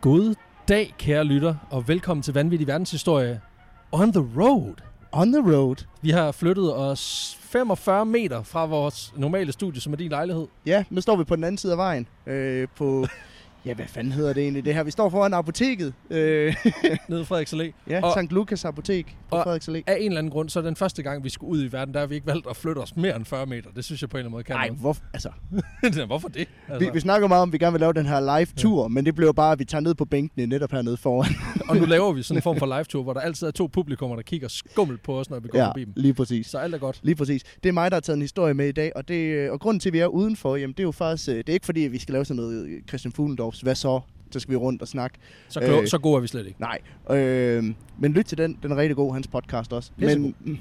God dag, kære lytter, og velkommen til Vanvittig Verdenshistorie on the road. On the road. Vi har flyttet os 45 meter fra vores normale studie, som er din lejlighed. Ja, nu står vi på den anden side af vejen. Øh, på, ja, hvad fanden hedder det egentlig det her? Vi står foran apoteket. Øh, Nede i Frederiks Allé. ja, Og- og, St. Lukas Apotek på og- Frederiks Allé. Af en eller anden grund, så er den første gang, vi skulle ud i verden, der har vi ikke valgt at flytte os mere end 40 meter. Det synes jeg på en eller anden måde kan. Nej, hvor, altså, noget. Hvorfor det? Altså, vi, vi snakker meget om, at vi gerne vil lave den her live-tur, men det blev bare, at vi tager ned på bænkene netop hernede foran. og nu laver vi sådan en form for live-tour, hvor der altid er to publikummer, der kigger skummelt på os, når vi går ja. forbi dem. lige præcis. Så alt er godt. Lige præcis. Det er mig, der har taget en historie med i dag, og, det, øh, og grunden til, at vi er udenfor, jamen, det er jo faktisk, øh, det er ikke fordi, at vi skal lave sådan noget øh, Christian Fuglendorfs, hvad så? Så skal vi rundt og snakke. Så, klog, øh. Øh. så gode er vi slet ikke. Nej, øh, men lyt til den, den er rigtig god, hans podcast også. Pissegod. Men mm,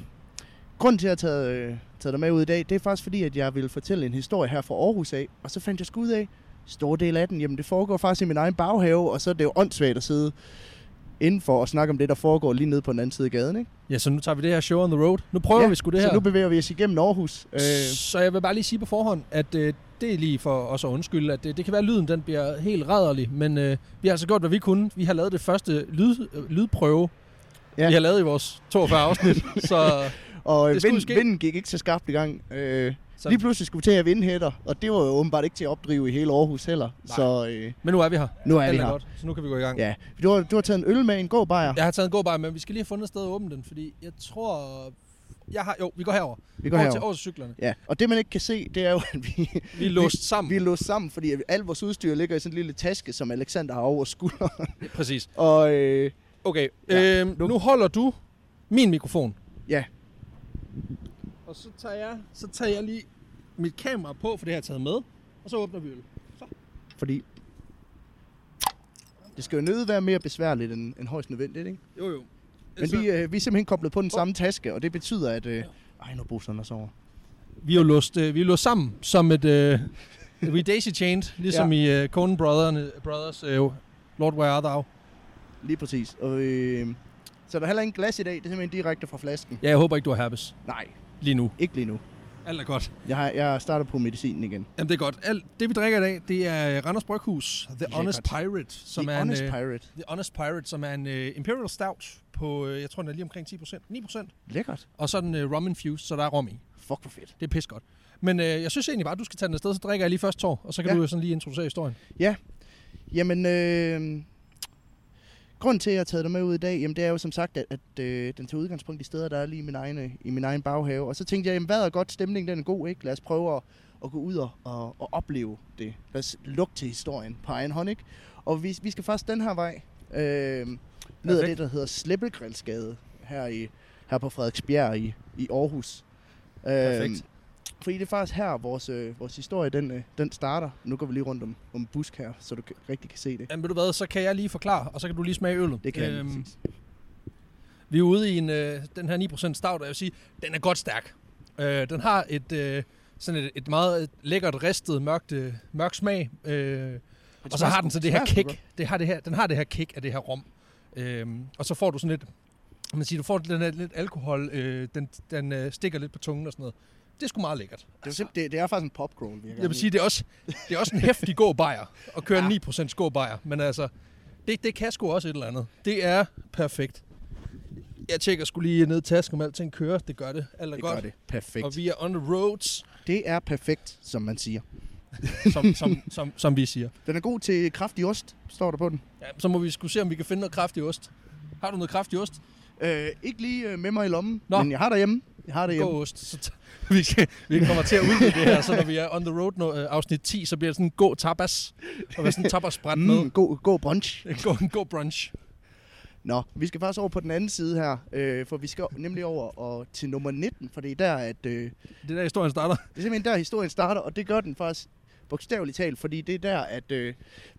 grunden til, at jeg har taget, øh, taget dig med ud i dag, det er faktisk fordi, at jeg ville fortælle en historie her fra Aarhus af, og så fandt jeg sgu ud af, stor del af den, jamen det foregår faktisk i min egen baghave, og så er det jo åndssvagt at sidde indenfor og snakke om det, der foregår lige nede på den anden side af gaden, ikke? Ja, så nu tager vi det her show on the road. Nu prøver vi sgu det her. Så nu bevæger vi os igennem Aarhus. Øh, Så jeg vil bare lige sige på forhånd, at øh, det er lige for os at undskylde, at øh, det kan være, at lyden den bliver helt rædderlig, men øh, vi har altså gjort, hvad vi kunne. Vi har lavet det første lyd, øh, lydprøve, ja. Ja. vi har lavet i vores 42 afsnit, så, og det øh, skulle vind, ske. vinden gik ikke så skarpt i gang. Øh, så... lige pludselig skulle vi til at have vindhætter, og det var jo åbenbart ikke til at opdrive i hele Aarhus heller. Nej. Så øh, Men nu er vi her. nu er vi Alt er her. godt, så nu kan vi gå i gang. Ja, du har, du har taget en øl med en god bajer. Jeg har taget en god bare, men vi skal lige have fundet et sted at åbne den, fordi jeg tror... Jeg har, jo, vi går herover. Vi går over til herover. over til cyklerne. Ja, og det man ikke kan se, det er jo, at vi, Vi er låst sammen. vi er låst sammen, fordi alt vores udstyr ligger i sådan en lille taske, som Alexander har over skulderen. Præcis. Og øh, Okay, Ja. ja. øhm, nu holder du min mikrofon. ja, Og så tager jeg, så tager jeg lige mit kamera på, for det har jeg taget med. Og så åbner vi øl. fordi det skal jo nødt være mere besværligt end, end højst nødvendigt, ikke? Jo, jo. Altså- Men så, vi, øh, vi er simpelthen koblet på den samme taske, og det betyder, at... Øh, ej, nu bruger sådan os over. vi er jo låst, øh, vi er låst sammen som et... Øh, we daisy chained, ligesom ja. i øh, Conan Brothers, Brothers øh, Lord Where Art Thou. Lige præcis. Og, øh, så der er heller ingen glas i dag, det er simpelthen direkte fra flasken. Ja, jeg håber ikke, du har herpes Nej, lige nu. ikke lige nu. Alt er godt. Jeg, har, jeg starter på medicinen igen. Jamen, det er godt. Alt, det, vi drikker i dag, det er øh, Randers Bryghus, The Lækkert. Honest Pirate, som The er Honest en... øh, Pirate. The Honest Pirate, som er en øh, Imperial Stout på, øh, jeg tror, den er lige omkring 10 procent. 9 procent. Lækkert. Og så er den øh, rum infused, så der er rom i. Fuck, hvor fedt. Det er pis godt. Men øh, jeg synes egentlig bare, at du skal tage den afsted, så drikker jeg lige først tår, og så kan ja. Ja. du jo sådan lige introducere historien. Jamen, øh, grunden til, at jeg har taget dig med ud i dag, jamen, det er jo som sagt, at, at øh, den tager udgangspunkt i steder, der er lige i min egen, øh, i min egen baghave. Og så tænkte jeg, jamen, hvad er godt? Stemningen den er god, ikke? Lad os prøve at, at gå ud og, og, og opleve det. Lad os lugte til historien på egen hånd, ikke? Og vi, vi skal faktisk den her vej, øh, ned ad Perfekt. det, der hedder Slippegrilsgade, her, i, her på Frederiksbjerg i, i Aarhus. Øh, Perfekt. Fordi det er faktisk her, vores, øh, vores historie den, øh, den starter. Nu går vi lige rundt om, om busk her, så du kan, rigtig kan se det. Jamen ved du hvad, så kan jeg lige forklare, og så kan du lige smage øllet. Det kan jeg Øhm, lige præcis. Vi er ude i en, øh, den her 9% stout, og jeg vil sige, den er godt stærk. Øh, den har et, øh, sådan et, et meget øh, lækkert ristet, mørkt, øh, mørk smag. Øh, og så har den så det her Smager sgu kick. Det har det her, den har det her kick af det her rom. Øh, og så får du sådan lidt, man siger, du får den her lidt alkohol, øh, den, den øh, stikker lidt på tungen og sådan noget. Det er sgu meget lækkert. Det er, jo simp- det, det er faktisk en popcorn, vi har gang Jeg vil i. sige, det er også, det er også en hæftig god bajer at køre Ja. ja. 9% god bajer. Men altså, det, det kan sgu også et eller andet. Det er perfekt. Jeg tjekker skulle lige ned i tasken, om alting kører. Det gør det. Alt er det godt. gør det. Perfekt. Og vi er on the roads, Det er perfekt, som man siger. som, som, som, som vi siger. Den er god til kraftig ost, står der på den. Ja, så må vi skulle se, om vi kan finde noget kraftig ost. Har du noget kraftig ost? Øh, ikke lige øh, med mig i lommen, Nå. men jeg har derhjemme. Jeg har derhjemme. God ost. Så t- vi, skal, vi kommer til at udvide det her, så når vi er on the road no, øh, afsnit 10, så bliver det sådan en god tapas. Og være sådan en tapasbræt med. Mm, god, god brunch. En god, en god brunch. Nå, vi skal faktisk over på den anden side her, øh, for vi skal nemlig over og til nummer 19, for det er der, at... Øh, Det er der, historien starter. Det er simpelthen der, historien starter, og det gør den faktisk bogstaveligt talt, fordi det er der, at øh,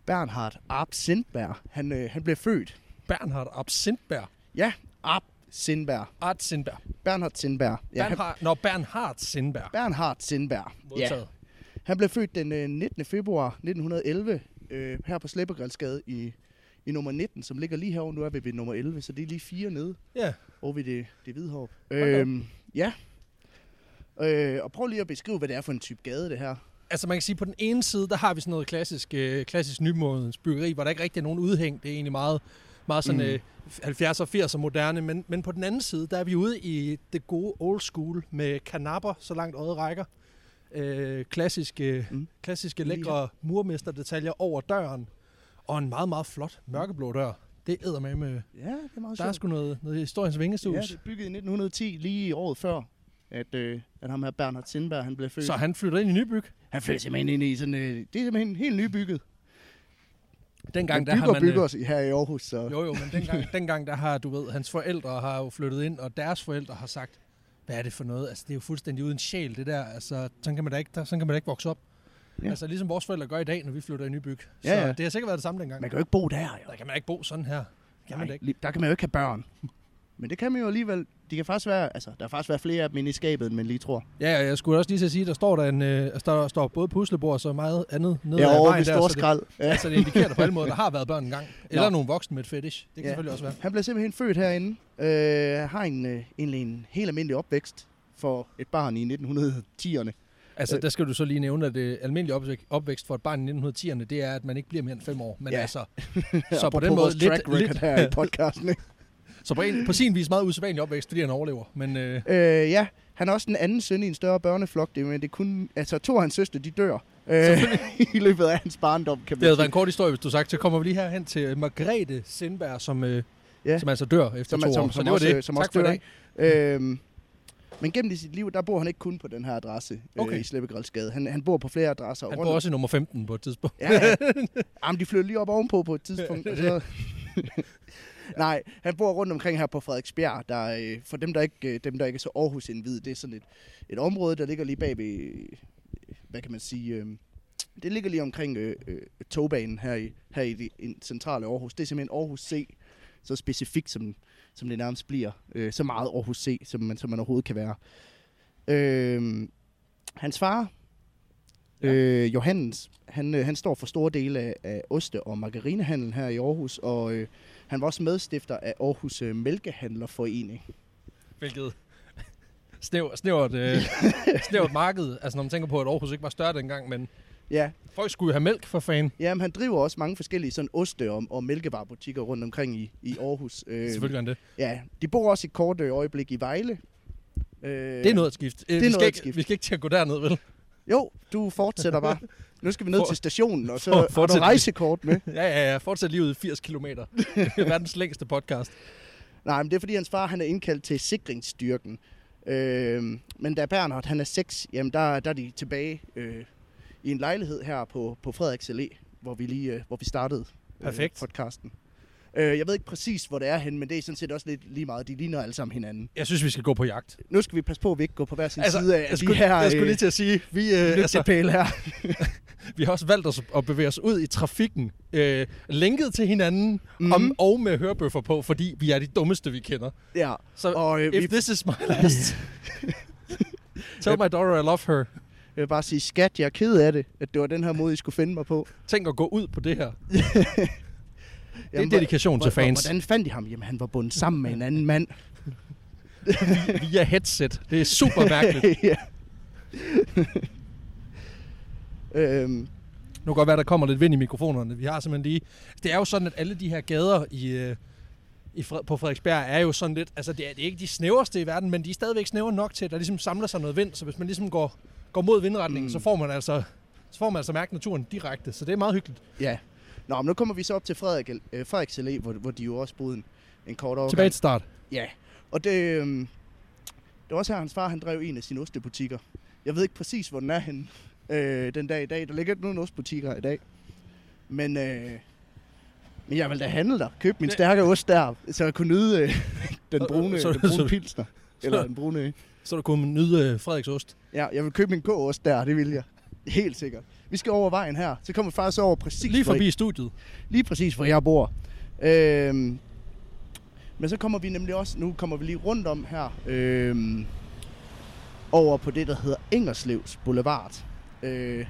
Bernhard Arp Sindberg, han, øh, han blev født. Bernhard Absintberg. Ja, Arp Sindberg. Art Sindberg. Bernhard Sindberg. Ja, han, Bernhard, Nå, Bernhard Sindberg. Bernhard Sindberg. Ja. Modtaget. Han blev født den øh, 19. februar 1911 øh, her på Slæbegrilsgade i, i nummer 19, som ligger lige herovre. Nu er vi ved nummer 11, så det er lige fire nede Ja. ja. over ved det, det hvide hår. Hold da op. Øhm, ja. Øh, og prøv lige at beskrive, hvad det er for en type gade, det her. altså man kan sige, på den ene side, der har vi sådan noget klassisk, øh, klassisk nymodens byggeri, hvor der ikke rigtig er nogen udhæng. Det er egentlig meget, meget sådan Mm. øh, 70'er, 80'er moderne. Men, men på den anden side, der er vi ude i det gode old school med kanapper, så langt øjet rækker. Øh, klassiske, Mm. mm. klassiske Lige lækre murmesterdetaljer over døren. Og en meget, meget flot mørkeblå dør. Det æder med med. Ja, det er meget Der er sjovt. sgu noget, noget historiens Ja, vingesus. det er bygget i 1910, lige året før, at, øh, at ham her Bernhard Sindberg, han blev født. så han flytter ind i Nybyg. han flyttede simpelthen ind i sådan, øh, det er simpelthen helt nybygget. Dengang, Men der har bygger man... øh, bygger os her i Aarhus, så Jo, jo, men dengang, dengang der har, du ved, hans forældre har jo flyttet ind, og deres forældre har sagt, hvad er det for noget? Altså, det er jo fuldstændig uden sjæl, det der. Altså, sådan kan man da ikke, der, sådan kan man da ikke vokse op. Ja. Ja. Altså, ligesom vores forældre gør i dag, når vi flytter i Nybyg. Så Ja, ja. det har sikkert været det samme dengang. man kan jo ikke bo der, jo. Der kan man ikke bo sådan her. Kan man da Nej, ikke. lige- der kan man jo ikke have børn. Men det kan man jo alligevel. De kan faktisk være, altså, der er faktisk være flere af dem inde i skabet, end man lige tror. Ja, og jeg skulle også lige til at sige, der står der, en, øh, altså, der står både puslebord og så meget andet nede Ja, ad over vejen ved der, så det, Storskrald. Ja. altså, det indikerer der på alle måder, der har været børn engang. Eller Nå. nogle voksne med et fetish. Det kan Ja. ja. selvfølgelig også være. Han blev simpelthen født herinde. Øh, har en, øh, egentlig en helt almindelig opvækst for et barn i 1910'erne. Altså, Øh. der skal du så lige nævne, at det almindelige opvæk- opvækst for et barn i 1910'erne, det er, at man ikke bliver mere end fem år. Men Ja. ja. altså, Så på den måde lidt, track record lidt. her i podcasten. ikke? så på, en, på sin vis meget usædvanlig opvækst, fordi han overlever. Men øh, øh, ja, han er også den anden søn i en større børneflok, det, men det er kun, altså to af hans søstre, de dør. Øh, I løbet af hans barndom, kan det man havde sige. været en kort historie, hvis du sagt. Så kommer vi lige herhen til øh, Margrethe Sindberg, som, øh, Ja. ja. som altså dør efter Som- to år. som- så som det var også, øh, det. som tak også for i dør, dag. ikke? Øhm, men gennem sit liv, der bor han ikke kun på den her adresse okay. Okay. øh, i Sleppegrældsgade. Han, han bor på flere adresser. Han rundt bor om- også i nummer 15 på et tidspunkt. Ja, ja. Jamen, de flyttede lige op ovenpå på et tidspunkt. og så... Nej, han bor rundt omkring her på Frederiksbjerg. Der, er, øh, for dem der, ikke, øh, dem, der ikke er så Aarhus indvid, det er sådan et, et område, der ligger lige bag ved, øh, hvad kan man sige, øh, det ligger lige omkring øh, øh, togbanen her i, her i det in- centrale Aarhus. Det er simpelthen Aarhus C, så specifikt som, som det nærmest bliver. Øh, så meget Aarhus C, som man, som man overhovedet kan være. Øh, hans far, Øh, Johannes, han, øh, han står for store dele af, af oste- og margarinehandel her i Aarhus, og øh, han var også medstifter af Aarhus øh, Mælkehandlerforening. Hvilket snæv, snævert, øh, snævert marked. Altså, når man tænker på, at Aarhus ikke var større dengang, men Ja, folk skulle jo have mælk for fanden. jamen, han driver også mange forskellige sådan oste- og, og mælkevarebutikker rundt omkring i, i Aarhus. Øh, Selvfølgelig gør han det. Ja, de bor også et kort øh, øjeblik i Vejle. Øh, Det er noget at skifte. Det vi, er skal noget at ikke, skifte. vi skal ikke til at gå derned, vel? Jo, du fortsætter bare. Nu skal vi ned For- til stationen, og så for- har du fortsæt. rejsekort med. Ja, ja, ja. Fortsæt livet i 80 km. Det er verdens længste podcast. Nej, men det er fordi, hans far han er indkaldt til sikringsstyrken. Øh, men da Bernhard han er 6, jamen der, der er de tilbage øh, i en lejlighed her på, på Frederiks Allé, hvor vi, lige, øh, hvor vi startede Perfekt. Øh, podcasten. Øh, jeg ved ikke præcis, hvor det er hen, men det er sådan set også lidt lige meget. De ligner alle sammen hinanden. Jeg synes, vi skal gå på jagt. Nu skal vi passe på, at vi ikke går på hver sin altså, side af jeg, de skulle, her jeg skulle øh, lige til at sige, vi, øh, altså, lygtepæle her. vi har også valgt os at bevæge os ud i trafikken, øh, lænket til hinanden Mhm. mm. om, og med hørbøffer på, fordi vi er de dummeste, vi kender. Ja, Så og øh, if vi, this is my last, tell my daughter I love her. jeg vil bare sige, skat, jeg er ked af det, at det var den her måde, I skulle finde mig på. Tænk at gå ud på det her. Det er Jamen, dedikation til hvor- hvor- fans. Hvordan fandt de ham? Jamen, han var bundet sammen med en anden mand. Via headset. Det er super mærkeligt. ja. øhm, Nu kan godt være, der kommer lidt vind i mikrofonerne. Vi har simpelthen lige... Altså, Det er jo sådan, at alle de her gader i, øh, i Fred, på Frederiksberg er jo sådan lidt... Altså, det er, det er ikke de snæverste i verden, men de er stadigvæk snævre nok til, at der ligesom samler sig noget vind. Så hvis man ligesom går, går mod vindretningen, Mm. mm. så får man altså så får man altså mærke naturen direkte, så det er meget hyggeligt. ja. Nå, men nu kommer vi så op til Frederik, øh, Frederiks Allé, hvor, hvor de jo også boede en, en kort overgang. Tilbage til start. Ja, og det, øhm, det var også her, hans far han drev en af sine ostebutikker. Jeg ved ikke præcis, hvor den er henne øh, den dag i dag. Der ligger ikke nogen ostebutikker i dag. Men, øh, men jeg ville da handle der. Købe min Det- stærke ost der, så jeg kunne nyde øh, den Så- brune, så- den brune så- pilsner. Eller den brune... Så du kunne nyde øh, Frederiks ost. Ja, jeg vil købe min gåost der, det vil jeg. Helt sikkert. Vi skal over vejen her. Så kommer vi faktisk over præcis, Lige Hvor, forbi studiet. lige præcis hvor jeg bor. Øhm, men så kommer vi nemlig også, nu kommer vi lige rundt om her, øhm, over på det, der hedder Engerslevs Boulevard. Øh,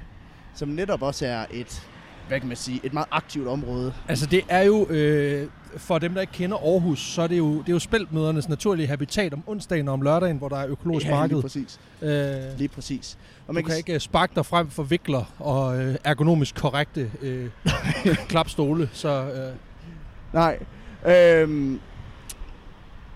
som netop også er et hvad kan man sige, et meget aktivt område. Altså det er jo, øh, for dem der ikke kender Aarhus, så er det jo, det er jo spæltmødernes naturlige habitat om onsdagen og om lørdagen, hvor der er økologisk ja, marked. lige præcis. Øh, Lige præcis. Og man du kan ikke øh, sparke dig frem for vikler og øh, ergonomisk korrekte øh, klapstole, så øh, s- Nej. Øhm,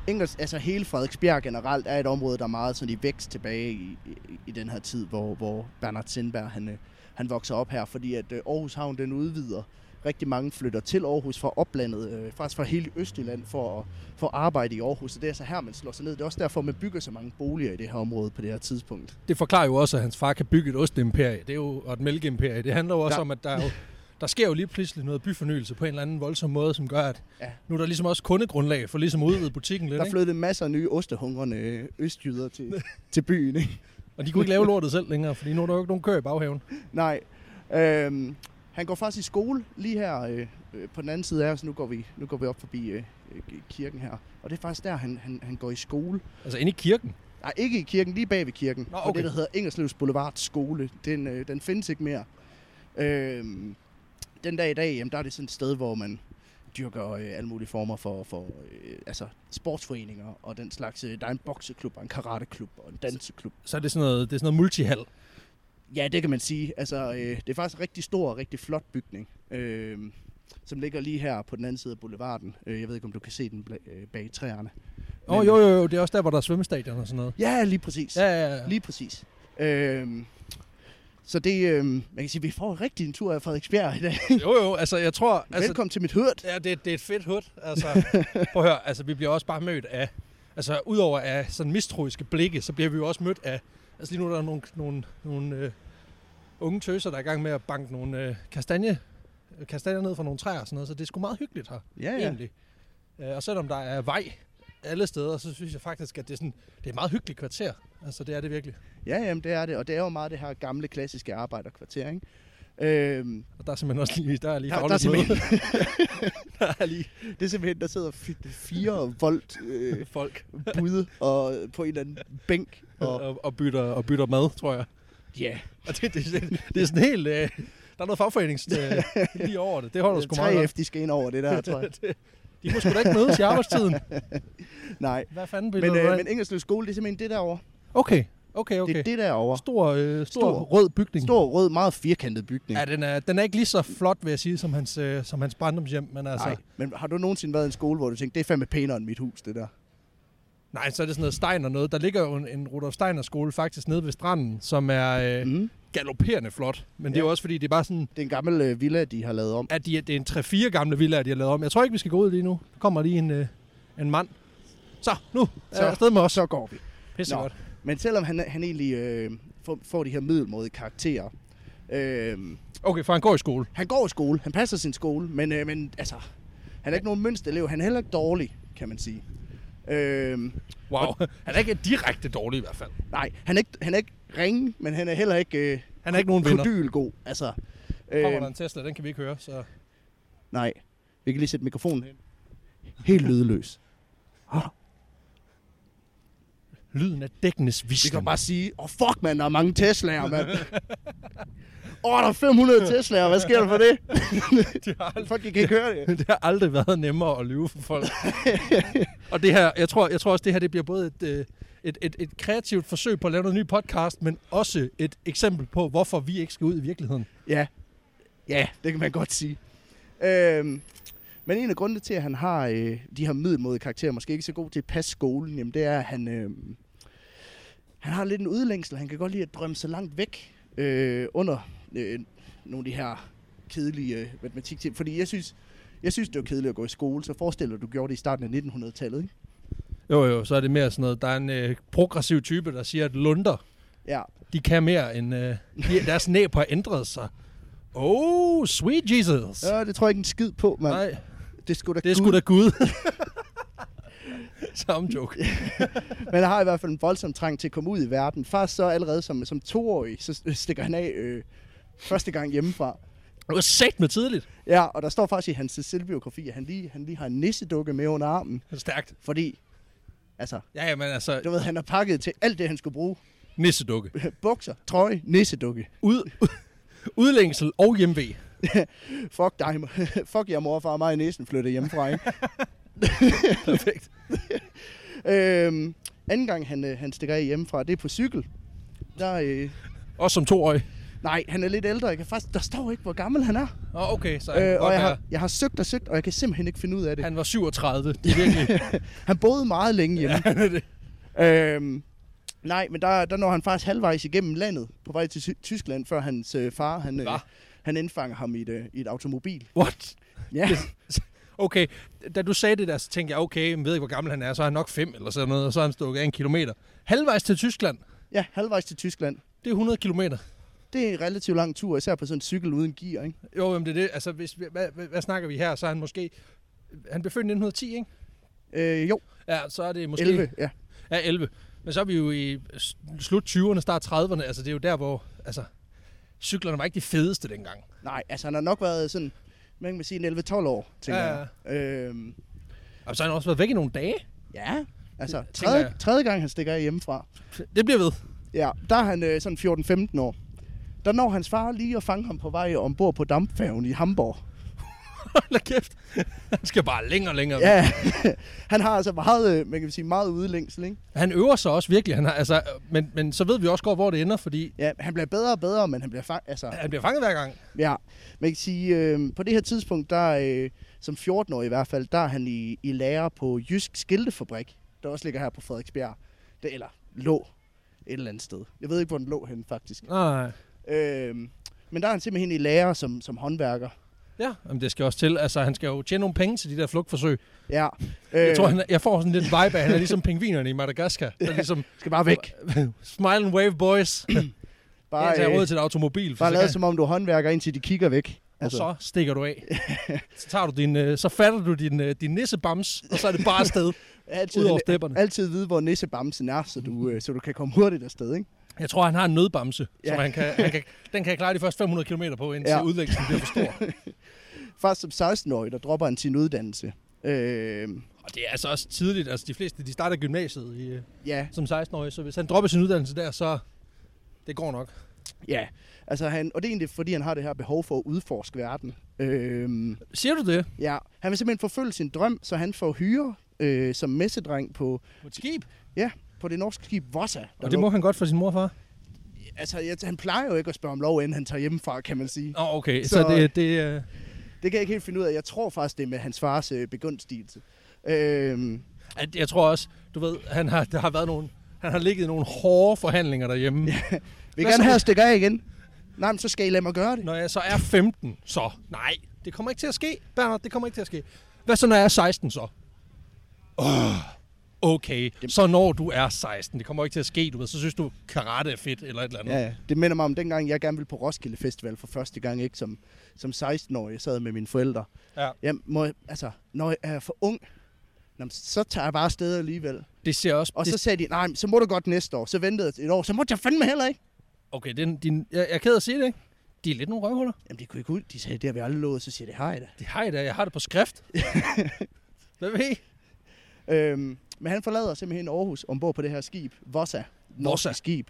Engels, altså hele Frederiksbjerg generelt er et område, der er meget sådan i vækst tilbage i, i, i den her tid, hvor, hvor Bernhard Sindberg han, øh, han vokser op her, fordi at øh, Aarhus Havn den udvider. Rigtig mange flytter til Aarhus fra oplandet, øh, faktisk fra hele Østjylland for at, for at arbejde i Aarhus. Og det er så her, man slår sig ned. Det er også derfor, man bygger så mange boliger i det her område på det her tidspunkt. det forklarer jo også, at hans far kan bygge et ostimperie det er jo, og et mælkeimperie. Det handler jo også ja. Ja. om, at der er jo, der sker jo lige pludselig noget byfornyelse på en eller anden voldsom måde, som gør, at ja. Ja. nu er der ligesom også kundegrundlag for ligesom at udvide butikken lidt. Der Ikke? flyttede masser af nye ostehungrende øh, østjyder til, til byen. Ikke? Og de kunne ikke lave lortet selv længere, fordi nu er der jo ikke nogen køer i baghaven. Nej. Øhm, han går faktisk i skole lige her øh, øh, på den anden side af os. Nu går vi, nu går vi op forbi øh, øh, kirken her. Og det er faktisk der, han, han, han går i skole. Altså inde i kirken. Nej, ikke i kirken, lige bag ved kirken. Nå, Nå, okay. På okay. det, der hedder Engelslevs Boulevard Skole. Den, øh, den findes ikke mere. Øhm, den dag i dag, jamen, der er det sådan et sted, hvor man dyrker øh, alle mulige former for, for øh, altså sportsforeninger og den slags. Øh, der er en bokseklub og en karateklub og en danseklub. Så er det sådan noget, det er sådan noget multihal. Ja, det kan man sige. Altså, øh, det er faktisk en rigtig stor og rigtig flot bygning, øh, som ligger lige her på den anden side af boulevarden. Øh, jeg ved ikke, om du kan se den bla- øh, bag træerne. Åh, oh, jo, jo, jo, det er også der, hvor der er svømmestadion og sådan noget. Ja, lige præcis. Ja, ja, ja. Lige præcis. Øh, så det, øh, man kan sige, vi får rigtig en tur af Frederiksbjerg i dag. Jo, jo, altså jeg tror... Altså, Altså, Velkommen til mit hørt. Ja, det, det er et fedt hud. Altså, prøv at høre, altså, vi bliver også bare mødt af... Altså, udover af sådan mistroiske blikke, så bliver vi jo også mødt af... Altså, lige nu er der nogle, nogle, nogle øh, unge tøser, der er i gang med at banke nogle øh, kastanje, øh, kastanjer ned fra nogle træer og sådan noget, så det er sgu meget hyggeligt her, Ja, ja. ja. egentlig. Øh, og selvom der er vej alle steder, så synes jeg faktisk, at det er, sådan, det er et meget hyggeligt kvarter. Altså, det er det virkelig. Ja, jamen, det er det. Og det er jo meget det her gamle, klassiske arbejderkvarter, ikke? Øhm, Og der er simpelthen også lige, der er lige Der- der er fagligt møde. der er lige det er simpelthen, der sidder fi- fire volt øh, folk bude og på en eller anden bænk. og, Og, og, og, bytter, og bytter mad, tror jeg. ja, Og det, det, det, det er sådan helt... Øh, der er noget fagforenings øh, lige over det. Det holder sgu meget 3F, Øh, de skal ind over det der, tror jeg. godt. De må sgu da ikke mødes i arbejdstiden. Nej. Hvad fanden vil Men, du øh, men Engelsløv skole, det er simpelthen det derovre. Okay, okay, Okay. Det okay. er Det, det derovre. stor, øh, stor, stor Stor. rød bygning. Stor, rød, meget firkantet bygning. Ja, den er, den er ikke lige så flot, vil jeg sige, som hans, øh, som hans barndomshjem. Men altså, nej. Nej. Men har du nogensinde været i en skole, hvor du tænkte, det er fandme pænere end mit hus, det der? nej, så er det sådan noget Steiner noget. Der ligger jo en, en Rudolf Steiner skole faktisk nede ved stranden, som er øh, Mm. galopperende flot. Men det er jo Ja. også fordi, det er bare sådan, Det er en gammel øh, villa, de har lavet om. at de, det er en 3-4 gamle villa, de har lavet om. Jeg tror ikke, vi skal gå ud lige nu. Der kommer lige en, øh, en mand. Så, nu. Så. Så. Er afsted med Og os. så går vi. Pisse Nå. godt. Men selvom han, han egentlig øh, får, får de her middelmådige karakterer, øh, Okay, for han går i skole. han går i skole, han passer sin skole, men, øh, men altså, han er ikke nogen mønsterelev, han er heller ikke dårlig, kan man sige. Øh, Wow. Han er ikke direkte dårlig i hvert fald. Nej, han er ikke, han er ikke ringe, men han er heller ikke... Øh, Han er ikke nogen vinder. Kodylgod, altså. Kommer der Øh, en Tesla, den kan vi ikke høre, så... nej, vi kan lige sætte mikrofonen hen. Helt lydløs. Lyden af dækkenes Vi kan visken. bare sige, åh oh, fuck mand, der er mange Tesla'er, mand. Åh, oh, der er 500 Tesla'er, hvad sker der for det? Det har, aldrig, Folk kan ikke høre det. det har aldrig været nemmere at lyve for folk. og det her, jeg tror, jeg tror også, det her det bliver både et, øh, et, et, et kreativt forsøg på at lave noget ny podcast, men også et eksempel på, hvorfor vi ikke skal ud i virkeligheden. Ja, ja, det kan man godt sige. Øhm, men en af grundene til, at han har øh, de her middelmodige karakterer, måske ikke så god til at passe skolen, jamen det er, at han, øh, han har lidt en udlængsel. Han kan godt lide at drømme sig langt væk øh, under øh, nogle af de her kedelige matematik Fordi jeg synes, jeg synes, det var kedeligt at gå i skole, så forestil dig, at du gjorde det i starten af 1900-tallet. Ikke? Jo, jo, så er det mere sådan noget. Der er en øh, progressiv type, der siger, at lunder, Ja, de kan mere end... Øh, de, deres næb har ændret sig. Oh, sweet Jesus. Ja, øh, det tror jeg ikke en skid på, mand. Nej, Det skulle da Det er sgu da Gud. Samme joke. Men han har i hvert fald en voldsom trang til at komme ud i verden. Faktisk så allerede som, som toårig, så stikker han af øh, første gang hjemmefra. Det var sagt med tidligt. Ja, og der står faktisk i hans selvbiografi, at han lige, han lige har en nissedukke med under armen, Stærkt. fordi altså, Ja, ja, men altså, du ved, han har pakket til alt det, han skulle bruge. nissedukke. Bukser, trøje, nissedukke. Ud, udlængsel og hjemve. Fuck dig, mor- fuck jer morfar og mig i næsen flytter hjemmefra, ikke? Perfekt. øhm, anden gang, han, øh, han stikker af hjemmefra, det er på cykel. Der, øh, Også som toårig. nej, han er lidt ældre. Jeg kan faktisk, der står ikke, hvor gammel han er. Åh, oh, okay, så han, øh, Øh, og godt jeg være, har, jeg har søgt og søgt, og jeg kan simpelthen ikke finde ud af det. Han, han var 37. Det er virkelig... han boede meget længe hjemme. han er det. Øhm, nej, men der, der når han faktisk halvvejs igennem landet, på vej til Ty- Tyskland, før hans øh, far, han, øh, Hva? han indfanger ham i et, øh, i et automobil. What? Ja, Okay, da du sagde det der, så tænkte jeg, okay, jeg ved ikke, hvor gammel han er, så er han nok 5 eller sådan noget, og så er han stukket af en kilometer. Halvvejs til Tyskland, ja, halvvejs til Tyskland. det er 100 kilometer. Det er en relativt lang tur, især på sådan en cykel uden gear, ikke? Jo, jamen det er det. Altså, hvis vi, hvad, hvad, hvad, snakker vi her? Så er han måske... Han blev født i 1910, ikke? Øh, jo, Ja, så er det måske... 11, ja. Ja, 11. Men så er vi jo i s- slut 20'erne, start 30'erne. Altså, det er jo der, hvor... Altså, cyklerne var ikke de fedeste dengang. Nej, altså han har nok været sådan, man kan sige en 11-12 år, tænker Ja, ja. jeg. Øhm, Og så har han også været væk i nogle dage. ja, altså Det tænker tredje, jeg. tredje gang han stikker af hjemmefra. Det bliver ved. Ja, der er han øh, sådan 14-15 år. Der når hans far lige at fange ham på vej ombord på dampfærgen i Hamburg. Hold da kæft. Han skal bare længere og længere. Ja, han har altså meget, øh, man kan sige, meget udlængsel, ikke? Han øver sig også virkelig. Han har, altså, øh, men, men så ved vi også godt, hvor det ender, fordi Ja, han bliver bedre og bedre, men han bliver fang... Altså, han bliver fanget hver gang. ja, man kan sige, øh, på det her tidspunkt, der øh, som 14-årig i hvert fald, der er han i, i lærer på Jysk Skiltefabrik, der også ligger her på Frederiksbjerg. Det, eller lå et eller andet sted. Jeg ved ikke, hvor den lå henne, faktisk. Nej. Øh, men der er han simpelthen i lærer som, som håndværker. Ja, jamen, det skal også til. Altså, han skal jo tjene nogle penge til de der flugtforsøg. Ja, øh, Jeg tror, han, er- jeg får sådan lidt vibe af, at han er ligesom pingvinerne i Madagaskar. Der er ligesom, skal bare væk. smile and wave, boys. Bare, jeg Bare, tager råd øh, til et automobil. bare så lad kan- som om du er håndværker, indtil de kigger væk. Altså, Og så stikker du af. så, tager du din, øh, så fatter du din, øh, din nissebams, og så er det bare afsted altid, ud over en- stepperne. altid vide, hvor nissebamsen er, så du, øh, så du kan komme hurtigt afsted, ikke? Jeg tror, han har en nødbamse, ja. Ja. som han kan, han kan, den kan klare de første 500 km på, indtil ja. Ja. udlæggelsen bliver for stor. Først som 16-årig, der dropper han sin uddannelse. Øh, Og det er altså også tidligt. Altså, de fleste de starter gymnasiet i, øh, ja, som 16-årige, så hvis han dropper sin uddannelse der, så det går nok. ja. Altså han, og det er egentlig, fordi han har det her behov for at udforske verden. Øh, Siger du det? ja. Han vil simpelthen forfølge sin drøm, så han får hyre øh, som messedreng på, På et skib? på det norske skib Vossa. Og det må han godt for sin morfar? Altså, jeg, han plejer jo ikke at spørge om lov, inden han tager hjemmefra, kan man sige. Nå, oh, okay. Så, så Så- det, det, øh, Det kan jeg ikke helt finde ud af. Jeg tror faktisk, det er med hans fars øh, begunstigelse. Øh, at jeg tror også, du ved, han har, der har været nogle, han har ligget i nogle hårde forhandlinger derhjemme. vil Hvad så? gerne have at stikke af igen? Nej, men så skal I lade mig gøre det. Når jeg så er 15, så nej, det kommer ikke til at ske, Bernhard, det kommer ikke til at ske. Hvad så, når jeg er 16 så? Oh, okay, så når du er 16, det kommer ikke til at ske, du ved, så synes du, karate er fedt, eller et eller andet. Ja, ja. det minder mig om dengang, jeg gerne ville på Roskilde Festival for første gang, ikke? Som, som 16-årig, jeg sad med mine forældre. Ja. Jeg må, altså, når jeg er for ung, nå, men så tager jeg bare afsted alligevel. Det ser også... Og det, så sagde de, nej, men så må du godt næste år. Så ventede jeg et år, så måtte jeg fandme heller ikke. okay, den, din, jeg, jeg er ked af at sige det, ikke? De er lidt nogle røvhuller. Jamen, de kunne ikke ud. De sagde, det har vi aldrig lovet, så siger jeg, det har jeg da. Det har jeg da, jeg har det på skrift. Hvad ved I? Øhm, men han forlader simpelthen Aarhus ombord på det her skib, Vossa, Vossa. norske skib,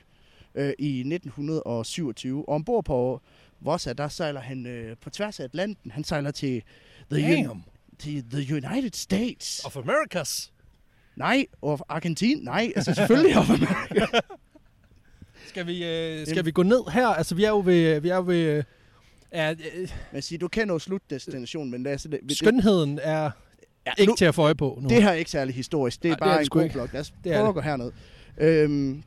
øh, i 1927. Og ombord på Vossa, der sejler han øh, på tværs af Atlanten. Han sejler til the, Damn. til the United States. Of Americas. Nej, og Argentin, nej, altså selvfølgelig. Skal vi, øh, skal vi gå ned her? Altså, vi er jo ved... Vi er jo ved øh, er, øh, Man siger, du kender jo slutdestinationen, men det er, så det, det, skønheden er ja, ikke nu, til at få øje på nu. det her er ikke særlig historisk, det Nej, er det er Ej, bare det en sgu god ikke. blok. Lad os Det er prøve at det. gå herned. Øhm,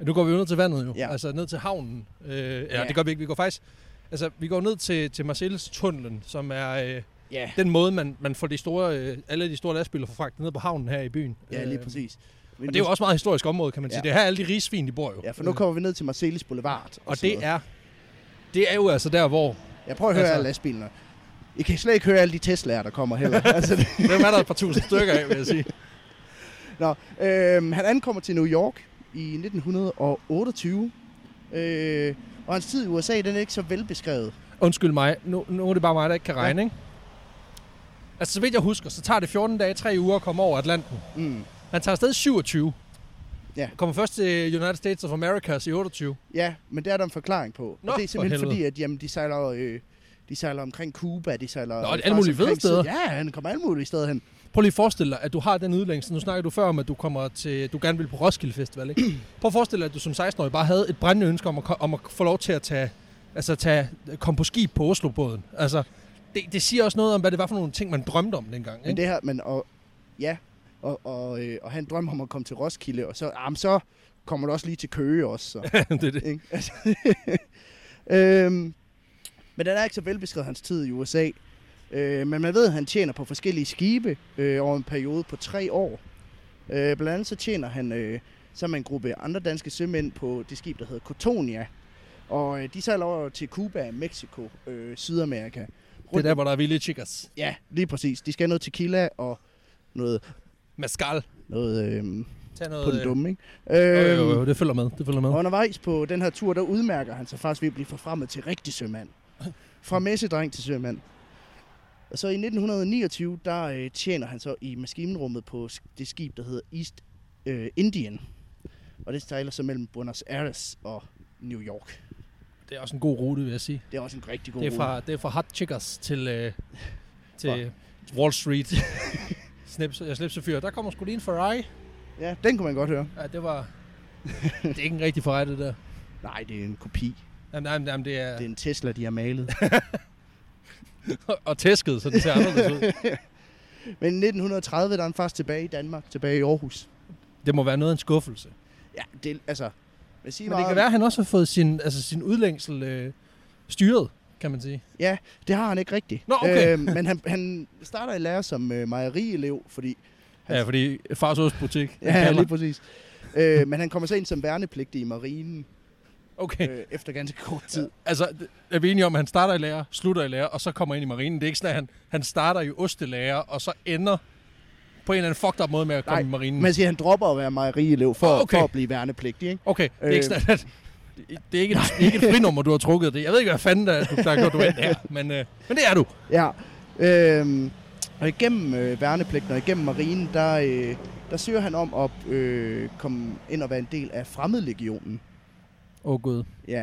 Nu går vi jo ned til vandet jo, ja. Ja. altså ned til havnen. Øh, ja, ja, Ja. det gør vi ikke. Vi går faktisk... Altså, vi går ned til, til Marcelles-tunnelen, som er øh, ja. den måde, man, man får de store, øh, alle de store lastbiler får fragtet ned på havnen her i byen. ja, lige Øh, præcis. Men Og det er jo også et meget historisk område, kan man sige. Ja. Det er her, alle de rigsvin, de bor jo. Ja, for nu kommer vi ned til Marcelis Boulevard. Og sådan det noget. er, det er jo altså der, hvor... Jeg prøver at høre altså- altså... alle lastbilerne. I kan slet ikke høre alle de Tesla'er, der kommer heller. altså, det, Hvem er der et par tusind stykker af, vil jeg sige. Nå, øhm, han ankommer til New York i 1928. Øh, og hans tid i USA, den er ikke så velbeskrevet. Undskyld mig, nu, nu er det bare mig, der ikke kan regne, ja. ikke? Altså, så vidt jeg husker, så tager det 14 dage, 3 uger at komme over Atlanten. Mm. Han tager afsted i 27. Ja. Kommer først til United States of America i 28. Ja, men det er der en forklaring på. Nå, og det er for simpelthen helvede. fordi, at jamen, de sejler øh, De sejler omkring Cuba, de sejler... Nå, det er faktisk alle mulige fede omkring Syd- steder. Ja, han kommer alle mulige steder hen. Prøv lige at forestille dig, at du har den udlængsel. Nu snakker du før om, at du, kommer til, du gerne vil på Roskilde Festival, ikke? Prøv at forestille dig, at du som 16-årig bare havde et brændende ønske om at, ko- om at få lov til at tage, altså tage, komme på skib på Oslobåden. Altså, det, det siger også noget om, hvad det var for nogle ting, man drømte om dengang. Men Ikke? det her, men og, ja, og, og, øh, og han drømmer om at komme til Roskilde, og så, ah, men så kommer du også lige til Køge også. Så, det, er det. ikke? Altså, øhm, men den er ikke så velbeskrevet hans tid i USA. Øh, men man ved, at han tjener på forskellige skibe øh, over en periode på tre år. Øh, blandt andet så tjener han øh, sammen med en gruppe andre danske sømænd på det skib, der hedder Cotonia. Og øh, de sejler over til Cuba, Mexico, øh, Sydamerika. det er der, hvor der er vilde chicas. Ja, lige præcis. De skal have noget tequila og noget, Mascal. noget øhm, Tag på noget... den dumme, ikke? øh, jo, Øhm, jo, jo, det følger med. Det følger med. og undervejs på den her tur, der udmærker han sig faktisk ved at blive forfremmet til rigtig sømand. Fra messedreng til sømand. Og så i 1929, der øh, tjener han så i maskinrummet på sk- det skib, der hedder East øh, Indian. Og det sejler så mellem Buenos Aires og New York. Det er også en god rute, vil jeg sige. Det er også en rigtig god Det er rute. fra, det er fra hot chicas til, øh, til Wall Street. Snips, jeg slipser fyr. Der kommer sgu lige en Ferrari. Ja, den kunne man godt høre. Ja, det var... det er ikke en rigtig Ferrari, det der. Nej, det er en kopi. Jamen, nej, men- jamen, det er... Det er en Tesla, de har malet. og tæsket, så det ser anderledes ud. Men i 1930, der er han faktisk tilbage i Danmark, tilbage i Aarhus. Det må være noget af en skuffelse. Ja, det, altså... Men Men det kan være, at han også har fået sin, altså, sin udlængsel øh, styret, kan man sige. Ja, det har han ikke rigtigt. Nå, okay. øh, men han, han starter i lære som øh, mejerielev, fordi... Han, Ja, fordi fars ostbutik. den ja kalder. lige præcis. øh, men han kommer så ind som værnepligtig i marinen Okay. øh, efter ganske kort tid. Altså, det- er vi enige om, at han starter i lærer, slutter i lærer, og så kommer ind i marinen? Det er ikke sådan, at han, han starter i ostelærer, og så ender på en eller anden fucked up måde med at komme Nej, i marinen. Man siger, han dropper at være mejerielev for, Ah, okay. okay. for at blive værnepligtig, ikke? Okay, det er ikke Øh. sådan, at... Det det er ikke et, det er ikke et frinummer, du har trukket det. Jeg ved ikke, hvad fanden der, du, der har gjort, du ind her, men, øh, men det er du. Ja. Øh, og igennem øh, værnepligten og igennem marinen, der, øh, der søger han om at øh, komme ind og være en del af fremmedlegionen. Åh oh, gud. Ja.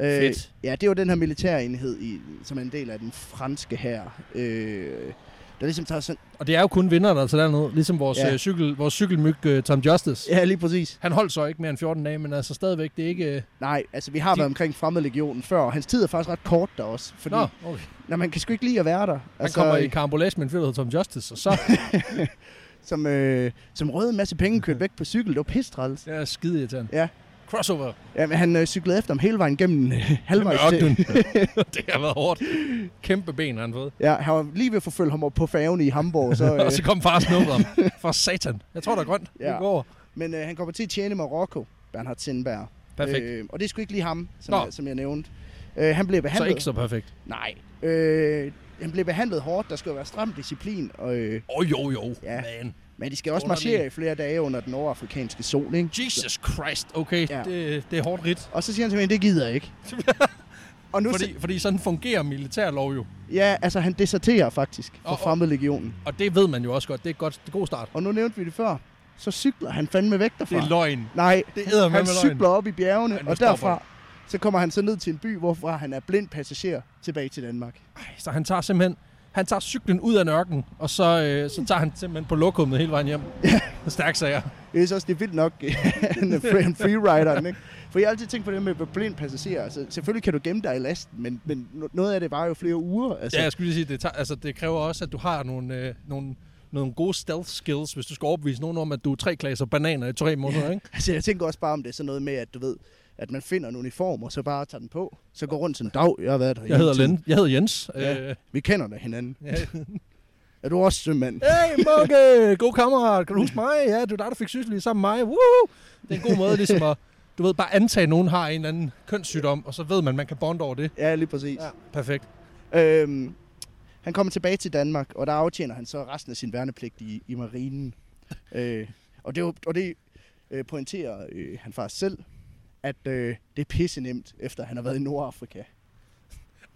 Øh, Fedt. Ja, det var den her militærenhed, i, som er en del af den franske her. Øh, der ligesom tager sådan... Og det er jo kun vinder, der tager dernede. Ligesom vores, ja. Ja. øh, cykel, vores cykelmyg øh, Tom Justice. Ja. Ja, lige præcis. Han holdt så ikke mere end 14 dage, men altså stadigvæk, det er ikke... Øh, Nej, altså vi har De- været omkring fremmedlegionen før, og hans tid er faktisk ret kort der også. Fordi, Altså- Nå, okay. når man kan sgu ikke lide at være der. Han kommer i karambolage med en fyr, der hedder Tom Justice, og så Som, øh, som røde en masse penge kørt væk på cykel. Det var pistræls. det er skide irriterende. Ja. Crossover. Jamen, han øh, cyklede efter ham hele vejen gennem øh, halvvejs til. Ørkenen. det har været hårdt. Kæmpe ben har han fået. Ja, han var lige ved at forfølge ham op på færgen i Hamburg. Så, Og øh, så kom far og snuppede ham. For satan. Jeg tror, der er grønt. Ja. Ja. Det går. men øh, han kommer til at tjene Marokko, Bernhard Sindberg. Perfekt. Øh, Øh, og det er sgu ikke lige ham, som, Nå. jeg, som jeg nævnte. Øh, han blev så behandlet... ikke så perfekt. Nej. Øh, han blev behandlet hårdt. Der skulle være stram disciplin. Og, øh, Åh, oh, jo, jo. Ja. Ja. Man. men de skal også Underlig. marchere i flere dage under den nordafrikanske sol, ikke? Jesus Christ. Okay, ja. Ja. det, det er hårdt ridt. Og så siger han til mig, det gider jeg ikke. og nu Fordi... Fordi, fordi sådan fungerer militærlov jo. Ja, altså han deserterer faktisk Og- fra og- fremmedlegionen. Og det ved man jo også godt. Det er, et godt, det er god start. Og nu nævnte vi det før. Så cykler han fandme væk derfra. Det er løgn. Nej, Det æder med han med løgn. cykler op i bjergene, Ej, nu og stopper derfra så kommer han så ned til en by, hvorfra han er blind passager tilbage til Danmark. Ej, Så han tager simpelthen han tager cyklen ud af nørken, og så, øh, så tager han simpelthen på lokummet hele vejen hjem. Ja. Stærk sager. Jeg synes også, det er vildt nok, han er free, han freerideren, ikke? For jeg har altid tænkt på det med med blind passager. Altså, selvfølgelig kan du gemme dig i lasten, men, men no- noget af det var jo flere uger. Altså. Ja, jeg skulle lige sige, det, tager, altså, det kræver også, at du har nogle, øh, nogle, nogle gode stealth skills, hvis du skal overbevise nogen om, at du er tre klasser bananer i tre måneder, ikke? Altså, jeg tænker også bare om det er sådan noget med, at du ved, at man finder en uniform, og så bare tager den på. Så går rundt sådan, dag, jeg har været der Jeg hele hedder, tiden. Len, jeg hedder Jens. Ja. Øh, Vi kender da hinanden. ja. Er du også sømand? Hey, Mugge! God kammerat! Kan du huske mig? Ja, det var dig, der fik sygelige sammen med mig. Woo! Det er en god måde ligesom at, du ved, bare antage, at nogen har en eller anden kønssygdom, og så ved man, man kan bonde over det. Ja, lige præcis. Perfekt. Ja. Øhm, han kommer tilbage til Danmark, og der aftjener han så resten af sin værnepligt i, i marinen. Øh, og det, er jo- og det øh, pointerer øh, han faktisk selv, at øh, det er pisse nemt, efter han har været i Nordafrika.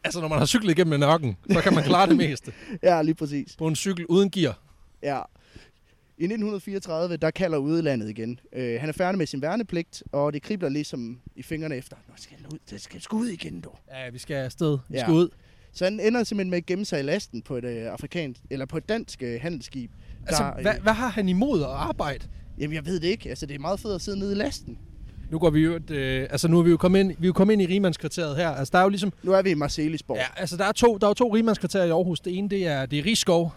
Altså, når man har cyklet igennem en ørken, så kan man klare det meste. Ja, lige præcis. På en cykel uden gear. Ja. I 1934, der kalder udlandet igen. Øh, han er færdig med sin værnepligt, og det kribler ligesom i fingrene efter. Nu skal han ud, det skal sgu ud igen, dog. Ja, vi skal afsted. Vi Ja. skal ud. Så han ender simpelthen med at gemme sig i lasten på et, øh, afrikansk, eller på et dansk øh, handelsskib. Altså, der, øh, hvad, hvad har han imod at arbejde? Jamen, jeg ved det ikke. Altså, det er meget fedt at sidde nede i lasten. Nu går vi jo... Øh, altså, nu er vi jo kommet ind, vi er jo kommet ind i rigmandskvarteret her. Altså, der er jo ligesom... Nu er vi i Marcelisborg. Ja, altså, der er, to, der er jo to rigmandskvarterer i Aarhus. Det ene, det er, det er Rigskov,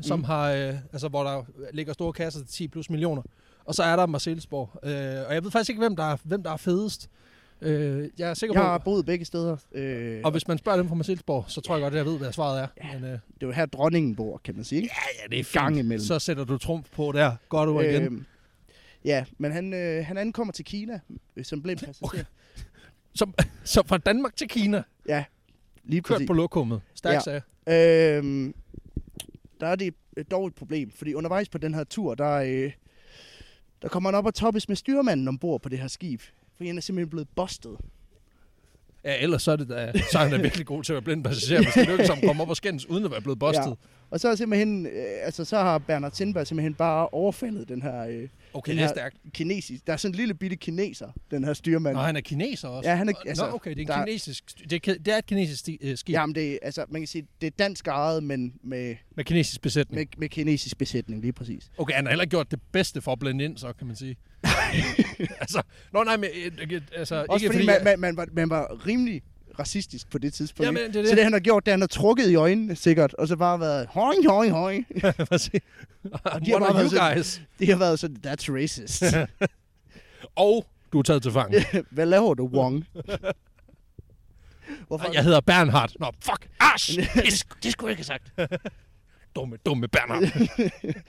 som mm. har... Øh, altså, hvor der ligger store kasser til 10 plus millioner. Og så er der Marcelsborg. Øh, og jeg ved faktisk ikke, hvem der er, hvem der er fedest. Øh, jeg er sikker Jeg har på... boet begge steder. Øh, Og hvis man spørger dem fra Marcelsborg, så tror jeg godt, at jeg ved, hvad svaret er. Men, øh, Det er jo her, dronningen bor, kan man sige. ikke? ja, ja, det er Gang imellem. Så sætter du trumf på der. Godt du igen. Øhm, ja, men han, øh, han ankommer til Kina øh, som blind passager. Okay. Som, så fra Danmark til Kina, Ja, lige kørt præcis. på lokummet. Stærk Ja. ja. sag. Øhm, der er det øh, dog et problem, fordi undervejs på den her tur, der, øh, der kommer han op og toppes med styrmanden ombord på det her skib. Fordi han er simpelthen blevet bustet. Ja, ellers så er, det da, så er han da virkelig god til at være blind passager, hvis det lykkes ham at komme op og skændes, uden at være blevet bustet. Og så er simpelthen, øh, altså så har Bernard Sindberg simpelthen bare overfaldet den her øh, Okay, Den det er her- stærkt. kinesisk, der er sådan en lille bitte kineser, den her styrmand. Nå, han er kineser også. Ja, han er- altså, altså, Nå, okay, det er, en der- kinesisk, st- det, er, ki- det er et kinesisk sti, øh, skib ja. Jamen det, er- altså man kan sige, det er dansk ejet, men med, med kinesisk besætning. med, med kinesisk besætning, lige præcis. Okay, han har heller ikke gjort det bedste for at blende ind, så kan man sige. altså, nå nej, men øh, øh, altså, Også ikke fordi, man, man, man, var, man var rimelig racistisk på det tidspunkt. Jamen, ikke? det er det. Så det han har gjort, det er, han har trukket i øjnene sikkert, og så bare været, høj, høj, høj. man... Hvad siger? de har One bare of været you sådan- guys. Det har været sådan, that's racist. Og du er taget til fange. Hvad laver du, Wong? Hvorfor? Og Jeg hedder Bernhard. Nå, fuck. Arsch! Det, sk- det skulle jeg ikke have sagt. dumme, dumme Bernhard.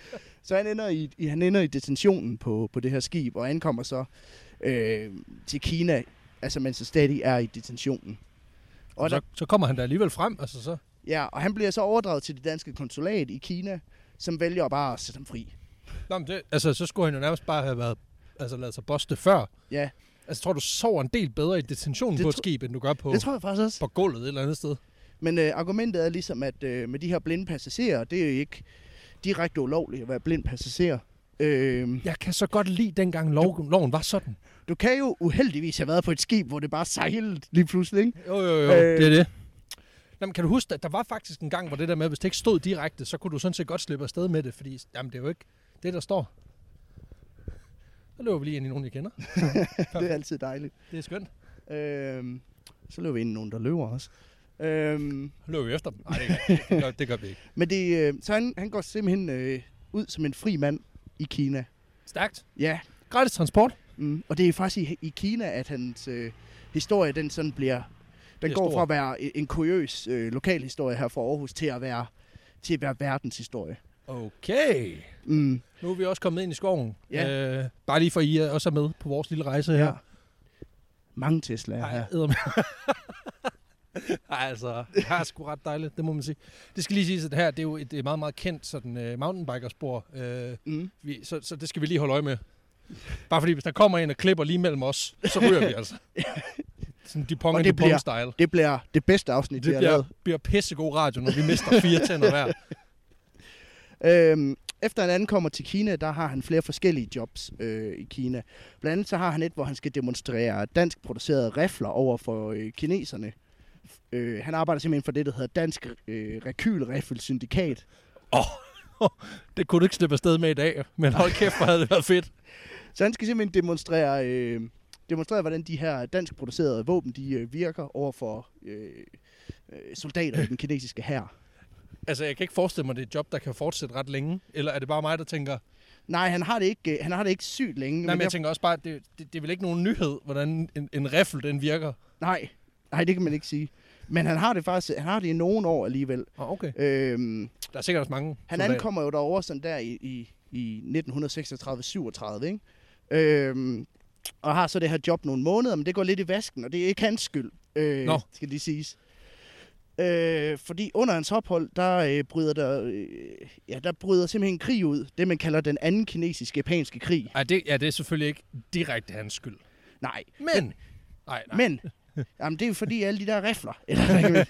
Så han ender i, i, han ender i detentionen på, på det her skib, og ankommer så øh, til Kina, altså mens han stadig er i detentionen. Og, der, så, så kommer han da alligevel frem, altså så. ja, og han bliver så overdraget til det danske konsulat i Kina, som vælger bare at sætte ham fri. Nå, men det, altså, så skulle han jo nærmest bare have været, altså, lavet sig boste før. Ja, Altså, tror du sover en del bedre i detentionen Det på et tro- skib, end du gør på, det tror jeg faktisk også. på gulvet et eller andet sted? Men øh, argumentet er ligesom, at øh, med de her blinde passagerer, det er jo ikke direkte ulovligt at være blind passager. Øh, Jeg kan så godt lide, dengang lov, loven var sådan. du kan jo uheldigvis have været på et skib, hvor det bare sejlede lige pludselig, ikke? Jo, jo, jo. Øh. Øh. Det er det. Jamen, kan du huske, at der var faktisk en gang, hvor det der med, at hvis det ikke stod direkte, så kunne du sådan set godt slippe afsted med det, fordi jamen, det er jo ikke det, der står. Så løber vi lige ind i nogen, jeg kender. Det er altid dejligt. Det er skønt. Øh, så løber vi ind i nogen, der løber også. Øh, Så løber vi efter dem. Nej, det gør, vi ikke. det, gør, det gør vi ikke. men det, øh, så han, han går simpelthen øh, ud som en fri mand i Kina. Stærkt. Ja, Gratis transport. mm, og det er faktisk i, i Kina, at hans øh, historie, den sådan bliver... Den Bliver går stor. fra at være en- en kuriøs øh, lokalhistorie her fra Aarhus til at være, til at være verdenshistorie. Okay. Mm. Nu er vi også kommet ind i skoven. Ja. Øh, bare lige for, at I er- også er med på vores lille rejse her. Ja. Mange Tesla'er her. Ej, eddermame. Ej, altså, det er sgu ret dejligt, det må man sige. Det skal lige siges, at her, det er jo et øh, meget, meget kendt sådan, uh, mountainbikerspor. Uh, Mm. vi, så, så det skal vi lige holde øje med. Bare fordi, hvis der kommer en og klipper lige mellem os, så ryger vi altså. Sådan de pong Og and det de bliver- pong style. Det bliver det bedste afsnit, det Det vi har bliver, lavet. bliver pissegod radio, når vi mister fire tænder hver. Øhm, efter han ankommer til Kina, der har han flere forskellige jobs øh, i Kina. Blandt andet så har han et, hvor han skal demonstrere dansk producerede rifler over for øh, kineserne. Øh, han arbejder simpelthen for det, der hedder Dansk øh, Rekylriffel Syndikat. Oh, det kunne du ikke slippe afsted med i dag, men hold kæft, hvor havde det været fedt. Så han skal simpelthen demonstrere, øh, demonstrere hvordan de her dansk producerede våben de, øh, virker over for øh, øh, soldater i den kinesiske hær. Altså, jeg kan ikke forestille mig, det er et job, der kan fortsætte ret længe. Eller er det bare mig, der tænker... Nej, han har det ikke, øh, han har det ikke sygt længe. Nej, men derfor- jeg tænker også bare, at det, det, det er vel ikke nogen nyhed, hvordan en, en riffel, den virker. Nej, nej, det kan man ikke sige. Men han har det faktisk, han har det i nogle år alligevel. Oh, okay. Øhm, Der er sikkert også mange han soldater. ankommer jo derover sådan der i, i, i 1936-37, ikke? Øhm, og har så det her job nogle måneder, men det går lidt i vasken, og det er ikke hans skyld, øh, Nå. skal lige siges. Øh, fordi under hans ophold, der øh, bryder der, øh, ja, der bryder simpelthen en krig ud. Det, man kalder den anden kinesiske japanske krig. Ej, det, ja, det er selvfølgelig ikke direkte hans skyld. Nej, Men... Nej, nej. Men, jamen det er jo fordi alle de der rifler. Eller, hvad kan man-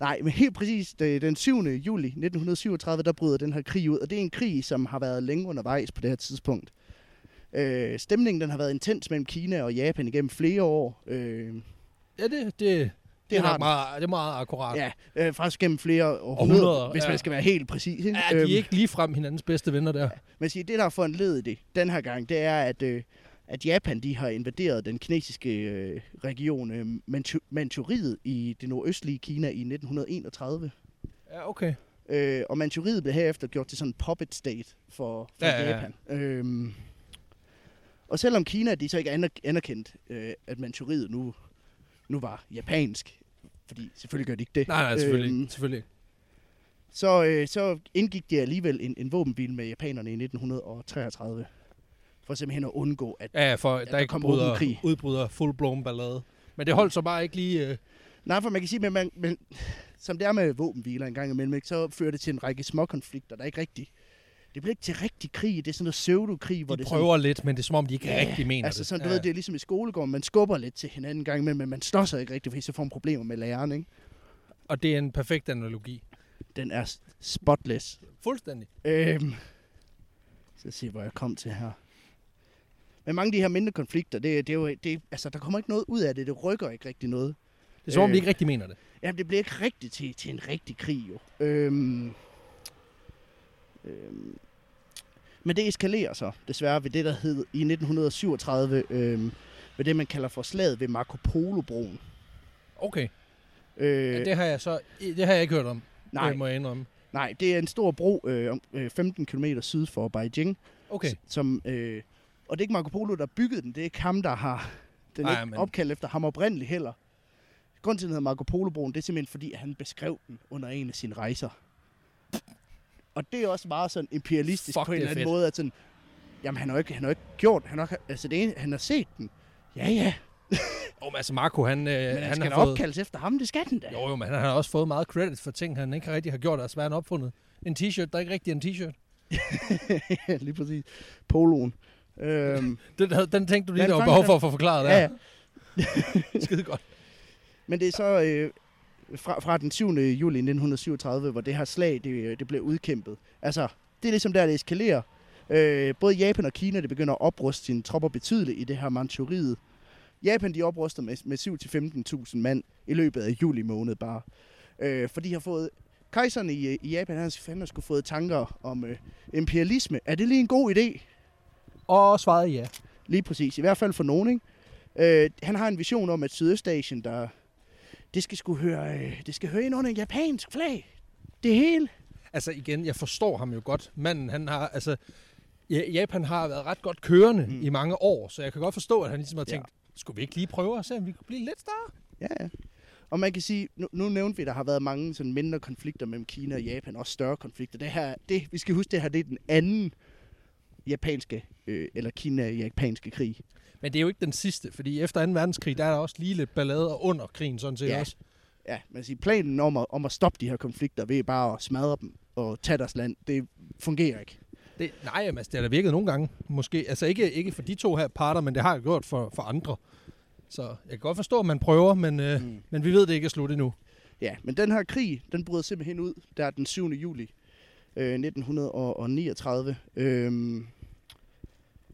Nej, men helt præcis øh, den 7. juli 1937, der bryder den her krig ud. Og det er en krig, som har været længe undervejs på det her tidspunkt. Øh, stemningen den har været intens mellem Kina og Japan igennem flere år. Øh, Ja, det, det, Det er, har nok den. meget, det er meget akkurat. Ja, Ja, øh, faktisk gennem flere århundreder, Århundreder, hvis ja. man skal være helt præcis. Ikke? Øhm, de er ikke ligefrem hinandens bedste venner der. Men sige, det, der har foranledet det den her gang, det er, at, øh, at Japan de har invaderet den kinesiske øh, region øh, Manchu- Manchuriet i det nordøstlige Kina i 1931. Ja, okay. Øh, og Manchuriet blev herefter gjort til sådan en puppet state for, for Ja, ja, ja, ja. Japan. Øhm, og selvom Kina de så ikke aner- anerkendt, øh, at Manchuriet nu, nu var japansk, fordi selvfølgelig gør de ikke det. Nej, nej, selvfølgelig, øhm, Øhm, selvfølgelig ikke. så, øh, så indgik de alligevel en, en våbenbil med japanerne i 1933, for simpelthen at undgå, at... Ja, ja, for der, der ikke kom udbryder, åben krig. udbryder full-blown ballade. Men det holdt så bare ikke lige... Øh, Nej, for man kan sige, men, man, men som det er med våbenhviler en gang imellem, ikke, så fører det til en række små konflikter, der er ikke rigtig... Det bliver ikke til rigtig krig, det er sådan noget pseudokrig, hvor de det er prøver sådan, lidt, men det er som om, de ikke ja, rigtig mener altså, det. sådan, du ja. ved, det er ligesom i skolegården, man skubber lidt til hinanden en gang imellem, men man slår sig ikke rigtigt, fordi så får man problemer med læreren, ikke? Og det er en perfekt analogi. Den er s- spotless. Fuldstændig. Øhm, så se, hvor jeg kom til her. Men mange af de her mindre konflikter, det, det er jo, det, altså, der kommer ikke noget ud af det, det rykker ikke rigtig noget. Det er som om, Øh. de ikke rigtig mener det. Jamen, det bliver ikke rigtigt til, til en rigtig krig, jo. Øhm, øhm, men det eskalerer så, desværre, ved det, der hed i 1937, øhm, ved det, man kalder for slaget ved Marco Polo-broen. Okay, Øh, øh, det har jeg så det har jeg ikke hørt om, nej, Det må jeg indrømme. nej, det er en stor bro øh, om, øh, 15 km syd for Beijing. Okay, s- Som, øh, og det er ikke Marco Polo, der byggede den, det er ikke ham, der har... Den er Nej, ikke men- opkaldt efter ham oprindeligt heller. Grunden til, at den hedder Marco Polo-broen, det er simpelthen, fordi han beskrev den under en af sine rejser. Og det er også meget sådan imperialistisk Fuck, på en det er eller anden fedt. måde, at sådan, jamen han har jo ikke, han har jo ikke gjort, han har, ikke- altså det ene, han har set den. Ja, ja, oh, men altså Marco, han, øh, men han, han skal da har fået... opkaldes efter ham, det skal den da. Jo, jo, men han har også fået meget credit for ting, han ikke rigtig har gjort, og svært opfundet. En t-shirt, der er ikke rigtig er en t-shirt. Lige præcis. Poloen. Øhm, Den, havde- den tænkte du lige, Den der var behov fangede den. for at få forklaret der. ja, ja. Skide godt. Men det er så øh, fra, fra den 7. juli 1937, hvor det her slag det, øh, det blev udkæmpet. Altså, det er ligesom der, det eskalerer. Øh, både Japan og Kina det begynder at opruste sine tropper betydeligt i det her Manchuriet. Japan de opruster med, med 7-15.000 mand i løbet af juli måned bare. Øh, for de har fået... Kejseren i, øh, i Japan, han fandme skulle fået tanker om øh, imperialisme. Er det lige en god idé? Og svaret ja. Lige præcis. I hvert fald for nogen, ikke? Øh, han har en vision om, at Sydøstasien, der... Det skal skulle høre, øh, det skal høre ind under en japansk flag. Det hele. Altså igen, jeg forstår ham jo godt. Manden, han har, altså, Ja- Japan har været ret godt kørende mm. Mm. i mange år, så jeg kan godt forstå, at han ligesom har Ja. tænkt, ja. skulle vi ikke lige prøve at se, om vi kunne blive lidt større? Ja, ja. Og man kan sige, nu, nu nævnte vi, at der har været mange sådan mindre konflikter mellem Kina og Japan, også større konflikter. Det her, det, vi skal huske, det her det er den anden japanske, øh, eller Kina-japanske krig. Men det er jo ikke den sidste, fordi efter 2. verdenskrig, der er der også lige lidt ballader under krigen, sådan set Ja. også. Ja, man kan sige, planen om at, om at stoppe de her konflikter ved bare at smadre dem og tage deres land, det fungerer ikke. Det, nej, jamen, altså, det har da virket nogle gange, måske. Altså ikke, ikke for de to her parter, men det har jeg gjort for, for andre. Så jeg kan godt forstå, at man prøver, men, øh, mm. Mm. men vi ved, det ikke er slut endnu. Ja, men den her krig, den bryder simpelthen ud der den 7. juli øh, 1939. Øh,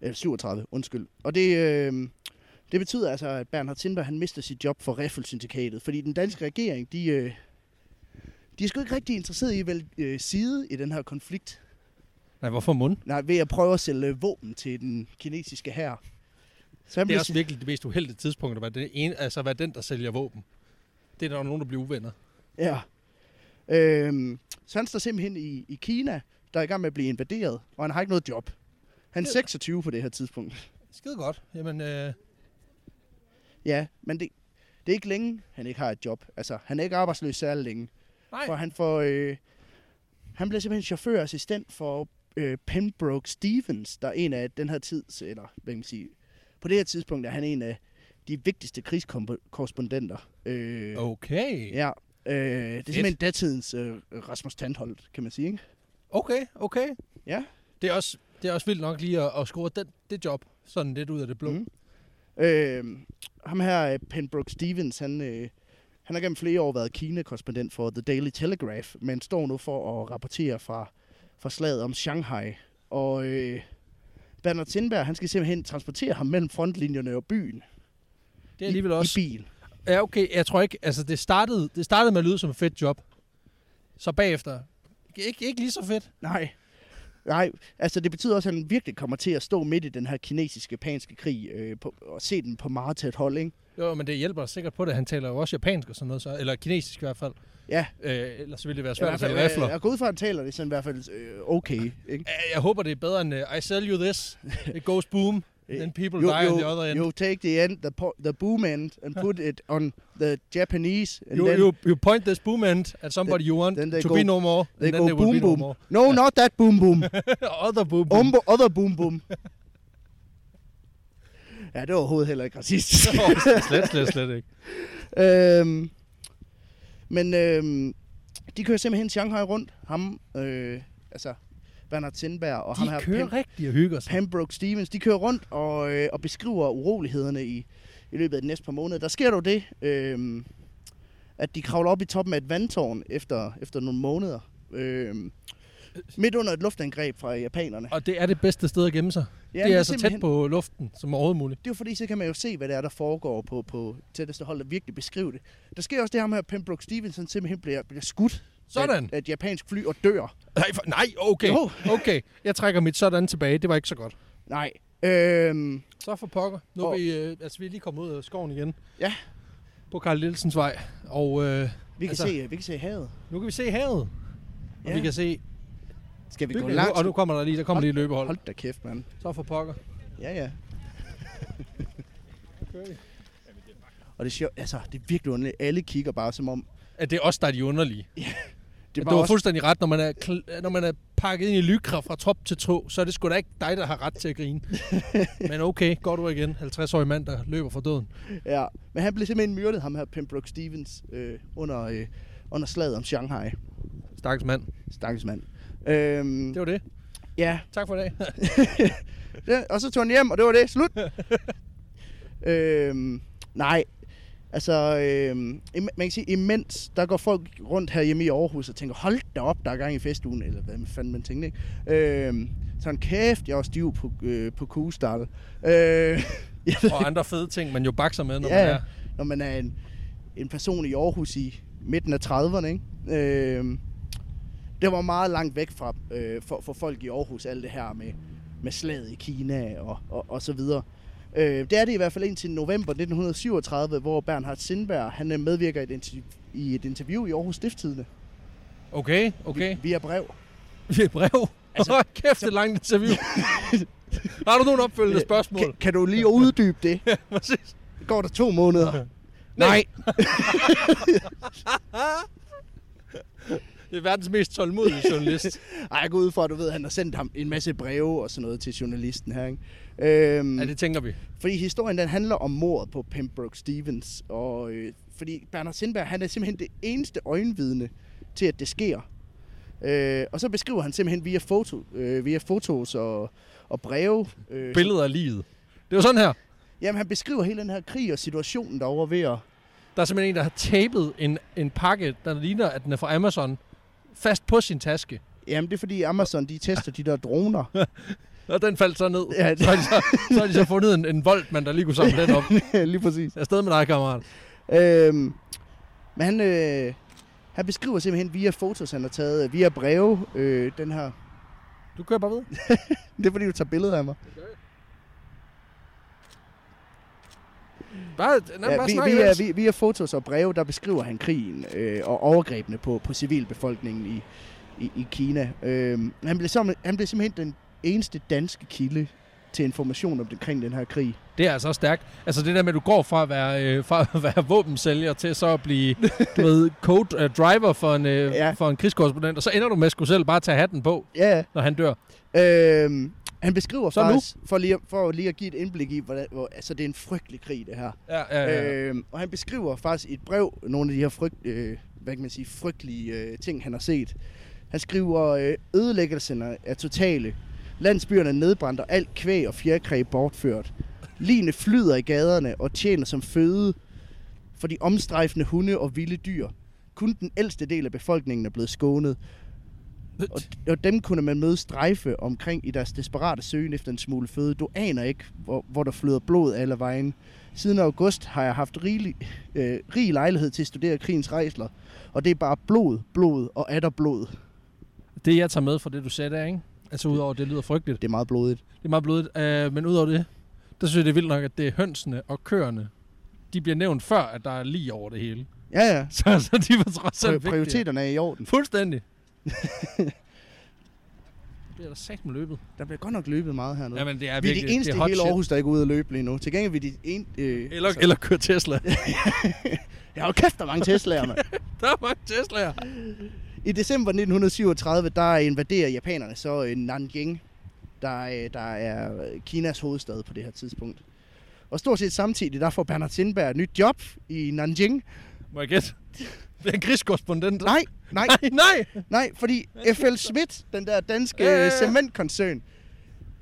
eller 37, undskyld. Og det, øh, det betyder altså, at Bernhard Tinder, han mister sit job for Riffelsyndikatet, fordi den danske regering, de, øh, de er sgu ikke rigtig interesseret i at vælge øh, side i den her konflikt. Nej, hvorfor mund? Nej, ved at prøve at sælge øh, våben til den kinesiske hær. Så han Det bliver er også virkelig det mest uheldige tidspunkt, at være, det ene, altså, at være den, der sælger våben. Det er der jo nogen, der bliver uvenner. Ja. Øhm, så han står simpelthen i, i Kina, der er i gang med at blive invaderet, og han har ikke noget job. Han er Det- 26 på det her tidspunkt. Skide godt. Jamen, øh, Ja, men det, det er ikke længe, han ikke har et job. Altså, han er ikke arbejdsløs særlig længe. nej. For han får... Øh, han bliver simpelthen chaufførassistent for øh, Pembroke Stevens, der er en af den her tids... Eller, hvad kan man sige... På det her tidspunkt er han en af de vigtigste krigskorrespondenter. Øh, Okay. Ja. Øh, det er simpelthen datidens øh, Rasmus Tandholt, kan man sige, ikke? Okay, okay. Ja. Det er også, det er også vildt nok lige at, at score den, det job sådan lidt ud af det blå. Mm. Mm. Øh, ham her, øh, Pembroke Stevens, han, øh, han har gennem flere år været Kina-korrespondent for The Daily Telegraph, men står nu for at rapportere fra, fra slaget om Shanghai. Og øh, Bernard Sindberg, han skal simpelthen transportere ham mellem frontlinjerne og byen Det er alligevel i, også i bil. Ja, okay. Jeg tror ikke, altså det startede, det startede med at lyde som et fedt job. Så bagefter, ikke, ikke lige så fedt. Nej. Nej, altså det betyder også, at han virkelig kommer til at stå midt i den her kinesisk-japanske krig øh, på, og se den på meget tæt hold, ikke? Jo, men det hjælper sikkert på det. Han taler jo også japansk og sådan noget, så, eller kinesisk i hvert fald. Ja. Øh, ellers ville det være Ja, i svært at hvert fald, sælge rifler. øh, Jeg går ud fra, at han taler det sådan i hvert fald øh, okay, ikke? Øh, Jeg håber, det er bedre end uh, I sell you this, it goes boom, then people You, die on the you, other end. you take the end, the, po- the boom end, and put it on the Japanese, and You, then you, you point this boom end at somebody you want then they to go- be no more, they and go then they will boom be no boom. Um. more. No, not that boom boom. Other boom boom. Umbo, other boom boom. ja, det var overhovedet heller ikke racistisk. slet, slet, slet ikke. øhm, men øhm, de kører simpelthen Shanghai rundt. Ham, øh, altså Bernard Sindberg og ham her, De kører rigtigt og hygger sig. Pembroke Stevens, de kører rundt og, øh, og beskriver urolighederne i, i løbet af de næste par måneder. Der sker dog det, øh, at de kravler op i toppen af et vandtårn efter, efter nogle måneder. Øh, midt under et luftangreb fra japanerne. Og det er det bedste sted at gemme sig. Ja, det er, så tæt på luften som overhovedet muligt. Det er jo fordi, så kan man jo se, hvad det er, der foregår på, på tætteste hold, og virkelig beskrive det. Der sker også det her med, at Pembroke Stevenson simpelthen bliver, bliver skudt Sådan. af, af et japansk fly og dør. Nej, for, nej okay. Jo. Okay, jeg trækker mit sådan tilbage. Det var ikke så godt. Nej. Øhm, Så for pokker. Nu er Og- vi, øh, altså, vi er lige kommet ud af skoven igen. Ja. På Karl Nielsens vej. Og øh, vi, kan Altså- altså, se, vi kan se havet. nu kan vi se havet. Og Ja. vi kan se Skal vi gå bygningerne. langt? Og nu kommer der lige, der kommer lige et løbehold. Hold da kæft, mand. Så for pokker. Ja, ja. Og det er sjovt, altså, det er virkelig underligt. Alle kigger bare som om... At det er os, der er de underlige. Det du er bare har også, fuldstændig ret. Når man, er, kl- når man er pakket ind i lykra fra top til tå, så er det sgu da ikke dig, der har ret til at grine. Men okay, går du igen. 50-årig mand, der løber fra døden. ja. Men han blev simpelthen myrdet, ham her Pembroke Stevens, øh, under, øh, under slaget om Shanghai. Stakkels mand. Stakkels mand. Øhm, Det var det. ja, Tak for i dag. det, og så tog han hjem, og det var det. Slut. øhm, nej, altså, øhm, im- man kan sige, imens, der går folk rundt her hjemme i Aarhus og tænker, hold da op, der er gang i festugen, eller hvad fanden man tænkte, ikke? Øhm, sådan, kæft, jeg var stiv på, øh, på kugestal. Øh, jeg ved- Og andre fede ting, man jo bakser med, når ja, man er. når man er en, en person i Aarhus i midten af 30'erne, ikke? Øhm, det var meget langt væk fra øh, for, for folk i Aarhus, alt det her med, med slaget i Kina og, og, og så videre. Øh, det er det i hvert fald indtil november 1937, hvor Bernhard Sindberg han øh, medvirker i et, interview, i et interview i Aarhus Stifttidene Okay, okay. via brev. Vi er brev. Altså, Altså, Hold kæft, det er langt interview. har du nogle opfølgende spørgsmål? Øh, Kan, kan du lige uddybe det? Præcis. Går der to måneder? Nej. det er verdens mest tålmodige journalist. Ej, jeg går ud fra, at du ved, at han har sendt ham en masse breve og sådan noget til journalisten her, ikke? Øhm, Ja, det tænker vi. Fordi historien den handler om mordet på Pembroke Stevens, og øh, fordi Bernard Sindberg, han er simpelthen det eneste øjenvidne til, at det sker. Øh, og så beskriver han simpelthen via, foto, øh, via fotos og, og breve. Øh, Billeder af livet. Det var sådan her. Jamen, han beskriver hele den her krig og situationen derovre ved at... Der er simpelthen en, der har tapet en, en pakke, der ligner, at den er fra Amazon, fast på sin taske. Jamen, det er fordi Amazon, de tester de der droner. Og den faldt så ned. Ja, det- Så, har de så, så har de så fundet en, en voltmand, der lige kunne samle den op. Lige præcis. Afsted med dig, kammerat. Øhm, men han, øh, han beskriver simpelthen via fotos, han har taget, via breve, øh, den her... Du kører bare ved. Det er fordi, du tager billeder af mig. Bare, nej, Ja, bare vi, snak vi, er, imens. vi, vi er fotos og breve, der beskriver han krigen øh, og overgrebene på, på civilbefolkningen i, i, i Kina. Øh, han, blev som, han blev simpelthen den eneste danske kilde til information om, omkring den her krig. Det er altså også stærkt. Altså det der med, at du går fra at være, øh, fra at være våbensælger til så at blive, du ved, code uh, driver for en, øh, ja. Ja. for en krigskorrespondent, og så ender du med at skulle selv bare tage hatten på, Ja, når han dør. øh, han beskriver Så nu? faktisk, for lige, at- for lige at give et indblik i, hvordan, hvor, altså det er en frygtelig krig, det her. Ja, ja, ja. Øh, Øh, og han beskriver faktisk i et brev nogle af de her frygt, øh, hvad kan man sige, frygtelige øh, ting, han har set. Han skriver, øh, ødelæggelserne er totale. Landsbyerne er nedbrændt, og alt kvæg og fjerkræ bortført. Line flyder i gaderne og tjener som føde for de omstrejfende hunde og vilde dyr. Kun den ældste del af befolkningen er blevet skånet. Og, og dem kunne man møde strejfe omkring i deres desperate søgen efter en smule føde. Du aner ikke, hvor, hvor der flyder blod af alle vejen. Siden august har jeg haft rigelig, øh, rig lejlighed til at studere krigens rejsler. Og det er bare blod, blod og atter blod. Det, jeg tager med fra det, du sagde der, ikke? Altså udover, at det lyder frygteligt. Det er meget blodigt. Det er meget blodigt. Øh, men udover det, der synes jeg, det er vildt nok, at det er hønsene og køerne, de bliver nævnt før, at der er lige over det hele. Ja, ja. Så, så de var trods alt Pri- vigtige. prioriteterne er i orden. Fuldstændig. det bliver der sagt med løbet. Der bliver godt nok løbet meget hernede. Jamen, det er vi er virkelig, de eneste det i er hot hele shit. Aarhus, der ikke er ude at løbe lige nu. Til gengæld vi er de eneste... Øh, Eller, eller køre Tesla. Jeg har jo kæft, der er mange Tesla'er, mand. der er mange Tesla'er. I december 1937, der invaderer japanerne så øh, Nanjing, der, øh, der er øh, Kinas hovedstad på det her tidspunkt. Og stort set samtidig, der får Bernhard Sindberg et nyt job i Nanjing. Må jeg gætte? Bliver en krigskorrespondent? Nej, nej, Nej, nej. nej, fordi FL Schmidt, den der danske Ja, ja, ja. øh, cementkoncern,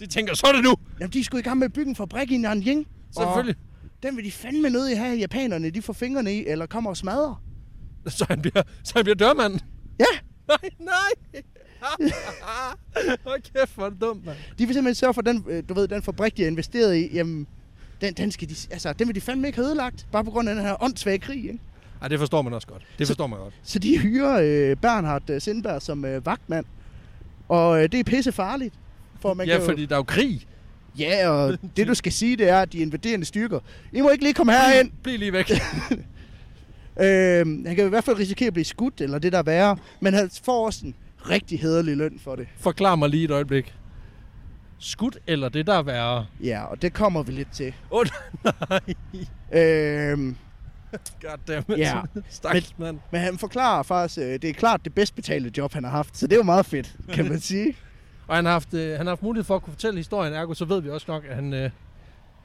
De tænker, så er det nu. jamen de skulle i gang med at bygge en fabrik i Nanjing. Selvfølgelig. Og den vil de fandme nødig have, at japanerne de får fingrene i, eller kommer og smadrer. Så han bliver, så han bliver dørmand. Ja, Nej, nej. Hvor kæft, hvor er det dumt, mand. De vil simpelthen sørge for, at den, øh, du ved, den fabrik, de har investeret i, jamen, den, den, skal de, altså, den vil de fandme ikke have ødelagt, bare på grund af den her åndssvage krig. Ikke? Ej, det forstår man også godt. Det forstår man godt. Så de hyrer øh, Bernhard øh, Sindberg som øh, vagtmand, og øh, det er pisse farligt. For man ja, kan fordi Jo, der er jo krig. ja, og det du skal sige, det er, at de invaderende styrker, I må ikke lige komme herind. Bliv lige væk. Øh, han kan i hvert fald risikere at blive skudt, eller det der er værre, men han får også en rigtig hederlig løn for det. Forklar mig lige et øjeblik. Skudt eller det, der er værre? Ja, og det kommer vi lidt til. Åh, oh, nej. Øh, Goddammit. Ja. Stakkels mand. Men han forklarer faktisk, øh, det er klart det bedst betalte job, han har haft. Så det er jo meget fedt, kan man sige. Og han har, haft, øh, han har haft mulighed for at kunne fortælle historien, ergo så ved vi også nok, at han... Øh...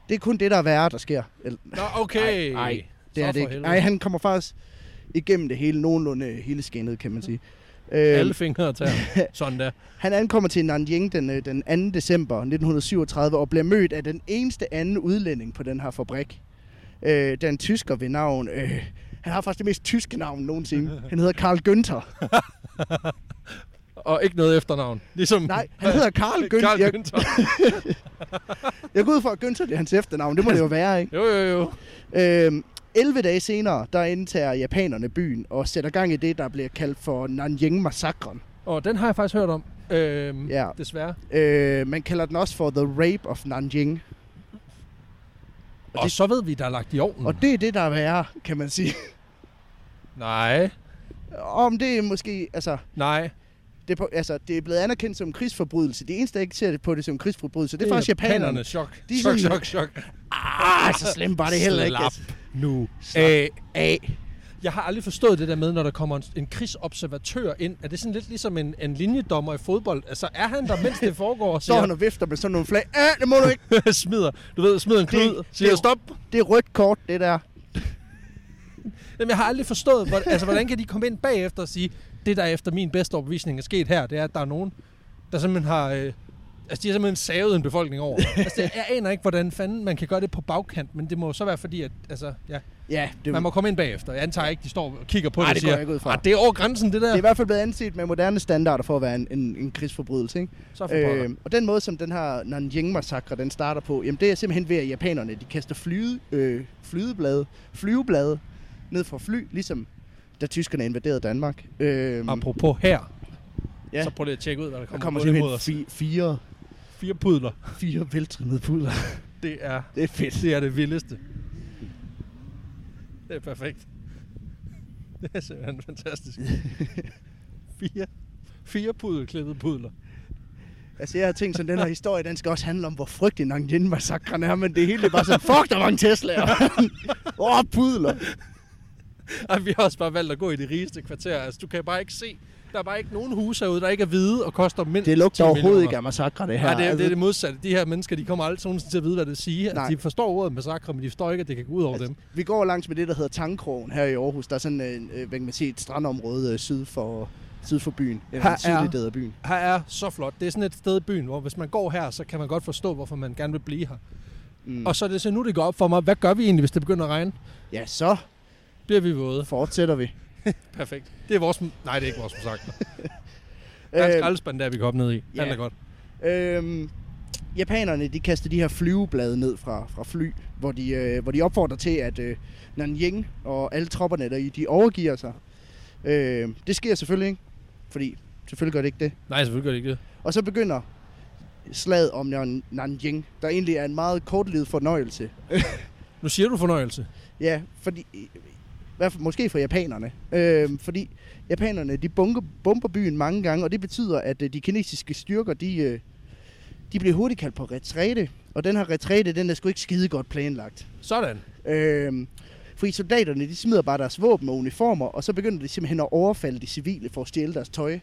Det er kun det, der er værre, der sker. Eller, Nå, okay. Ej, ej, Så det er det for ikke. helvede. Nej, han kommer faktisk igennem det hele, nogenlunde hele skinnet, kan man sige. Øh, Alle fingre og tæer. Sådan der. han ankommer til Nanjing den, øh, den 2. december 1937 og bliver mødt af den eneste anden udlænding på den her fabrik. Øh, den tysker ved navn... Øh, han har faktisk det mest tyske navn nogensinde. Han hedder Karl Günther. Og ikke noget efternavn. Ligesom... Nej, han hedder Karl Günther. Carl Jeg, Günther. jeg går ud fra, at Günther det er hans efternavn. Det må det jo være, ikke? Jo, jo, jo. Øhm, 11 dage senere, der indtager japanerne byen og sætter gang i det, der bliver kaldt for Nanjing-massakren. Og den har jeg faktisk hørt om. Øhm, Ja. Desværre. Øh, man kalder den også for The Rape of Nanjing. Og, og det... så ved vi, der er lagt i ovnen. Og det er det, der er værre, kan man sige. Nej, Om det er måske, altså nej. det, er på, altså, det er blevet anerkendt som krigsforbrydelse. De eneste, der ikke ser det på det som krigsforbrydelse, det er, faktisk japanerne. Chok. De er chok, sådan- chok, chok. Ah, så slemt var det heller ikke. Slap Altså. nu Æh, af. Jeg har aldrig forstået det der med, når der kommer en, en krigsobservatør ind. Er det sådan lidt ligesom en, en linjedommer i fodbold? Altså, er han der, mens det foregår, og Står siger, han og vifter med sådan nogle flag. Ah, det må du ikke. smider, du ved, smider en klud, det- siger stop. Det er rødt kort, det der. Jamen, jeg har aldrig forstået, hvor, altså, hvordan kan de komme ind bagefter og sige, det der efter min bedste overbevisning er sket her, det er, at der er nogen, der simpelthen har... Øh, altså, de har simpelthen savet en befolkning over. altså, jeg, jeg aner ikke, hvordan fanden man kan gøre det på bagkant, men det må jo så være fordi, at... Altså, ja. Ja, det, Man må komme ind bagefter. Jeg antager ikke, de står og kigger på Nej, det og det går siger, jeg ikke ud fra. "Ah, det er over grænsen, det der. det er i hvert fald blevet anset med moderne standarder for at være en, en, en krigsforbrydelse. Ikke? Så for pokker. Øh, og den måde, som den her Nanjing-massakre den starter på, jamen det er simpelthen ved, at japanerne de kaster flyde, øh, flydeblade, flyveblade ned fra fly, ligesom da tyskerne invaderede Danmark. Øh, Apropos her, ja, så prøv lige at tjekke ud, hvad der der kommer, kommer gående mod simpelthen os. fi, fire, Fire pudler. fire veltrimmede pudler. Det er det er fedt. det, er det vildeste. Det er perfekt. Det er simpelthen fantastisk. fire, fire pudelklippede pudler. Altså jeg har tænkt sådan, den her historie, den skal også handle om, hvor frygtelig Nanjing-massakren er, men det hele er bare sådan, fuck, der var en Tesla! Åh, oh, pudler! Ej, vi har også bare valgt at gå i de rigeste kvarterer. Altså, du kan bare ikke se. Der er bare ikke nogen huse herude, der ikke er hvide og koster mindst Det lugter 10 overhovedet millioner. ikke af massakre, det her. Ja, det, er, det Altså, er det modsatte. De her mennesker, de kommer aldrig sådan til at vide, hvad det siger. Nej. Altså, de forstår ordet massakre, men de forstår ikke, at det kan gå ud over altså, dem. Vi går langs med det, der hedder Tangkrogen her i Aarhus. Der er sådan øh, øh, hvad kan man sige, et strandområde øh, syd for, syd for byen. Her Eller er- den sydlige del af byen. Her er så flot. Det er sådan et sted i byen, hvor hvis man går her, så kan man godt forstå, hvorfor man gerne vil blive her. Mm. Mm. Og så er det så nu, det går op for mig. Hvad gør vi egentlig, hvis det begynder at regne? Ja, så Bliver vi våde? fortsætter vi. Perfekt. Det er vores... Nej, det er ikke vores massakre. Der er Øh, en skraldespand, der vi kan hoppe ned i. Ja. Yeah. Alt er godt. Øhm, japanerne, de kaster de her flyveblade ned fra, fra fly, hvor de, øh, hvor de opfordrer til, at øh, Nanjing og alle tropperne der i, de overgiver sig. Øh, det sker selvfølgelig ikke, fordi selvfølgelig gør det ikke det. Nej, selvfølgelig gør det ikke det. Og så begynder slaget om Nan- Nanjing, der egentlig er en meget kortlivet fornøjelse. Nu siger du fornøjelse. Ja, fordi... i hvert fald- Måske for japanerne. Øhm, fordi japanerne, de bunker, bomber byen mange gange, og det betyder, at øh, de kinesiske styrker, de, øh, de bliver hurtigt kaldt på retræte. Og den her retræte, den er sgu ikke skide godt planlagt. Sådan. Øhm, fordi soldaterne, de smider bare deres våben og uniformer, og så begynder de simpelthen at overfalde de civile for at stjæle deres tøj.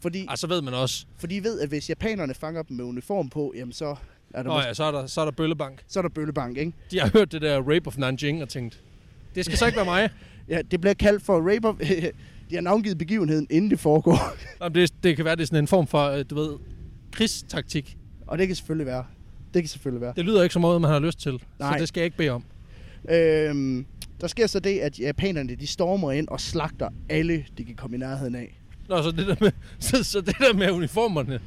Fordi, Ej, så ved man også. for de ved, at hvis japanerne fanger dem med uniform på, jamen så er der, Nå oh, ja. ja, så er, der, så er der Bøllebank. så er der bøllebank, ikke? De har hørt det der Rape of Nanjing og tænkt, det skal så ikke være mig. Ja, det bliver kaldt for rape of... De har navngivet begivenheden, inden det foregår. Jamen, det, det kan være, det er sådan en form for, øh, du ved, krigstaktik. Og det kan selvfølgelig være. Det kan selvfølgelig være. Det lyder ikke som noget, man har lyst til. Nej. Nej. Så det skal jeg ikke bede om. Øhm, der sker så det, at japanerne de stormer ind og slagter alle, de kan komme i nærheden af. Nå, så det der med, så, så det der med uniformerne,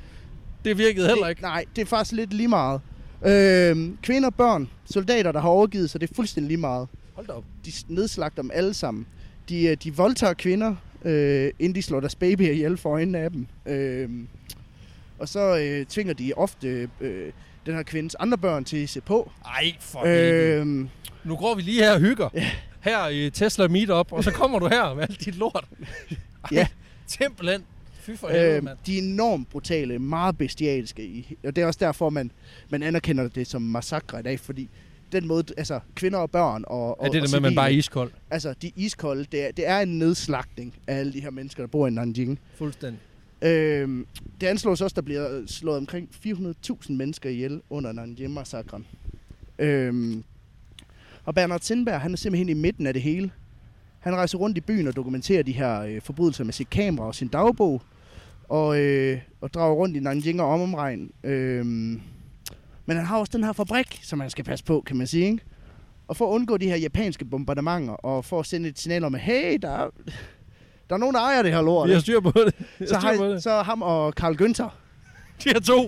det virkede heller Det, ikke. nej, det er faktisk lidt lige meget. Øhm, kvinder, børn, soldater, der har overgivet sig, det er fuldstændig lige meget. Hold da op. De s- nedslagter dem alle sammen. De, øh, de voldtager kvinder, øh, inden de slår deres babyer ihjel for øjnene af dem. Øhm, og så øh, tvinger de ofte øh, den her kvindes andre børn til at se på. Ej, for øh... Øhm, Nu går vi lige her og hygger. Her i Tesla Meetup, og så kommer du her med alt dit lort. Ej, Ja. Simpelthen. Fy for helvede, Øh, øh... mand. de er enormt brutale, meget bestialske. i- Og det er også derfor, man, man anerkender det som massakre i dag, fordi den måde, altså kvinder og børn og, og Ja, det er og det med, at man bare er civile, iskold. Altså, de er iskolde, det er, det er en nedslagning af alle de her mennesker, der bor i Nanjing. Fuldstændig. Øh, det anslås også, der bliver slået omkring 400.000 mennesker ihjel under Nanjing-massakren. Øh, og Bernard Sindberg, han er simpelthen i midten af det hele. Han rejser rundt i byen og dokumenterer de her øh, forbrydelser med sit kamera og sin dagbog, og, øh, og drager rundt i Nanjing og omomregn. Øh, men han har også den her fabrik, som han skal passe på, kan man sige. Ikke? Og for at undgå de her japanske bombardementer, og for at sende et signal om, at hey, der er, der er nogen, der ejer det her lort. Vi har ikke?" styr på det. Vi så, har styr på har, det. så ham og Karl Günther, De her to.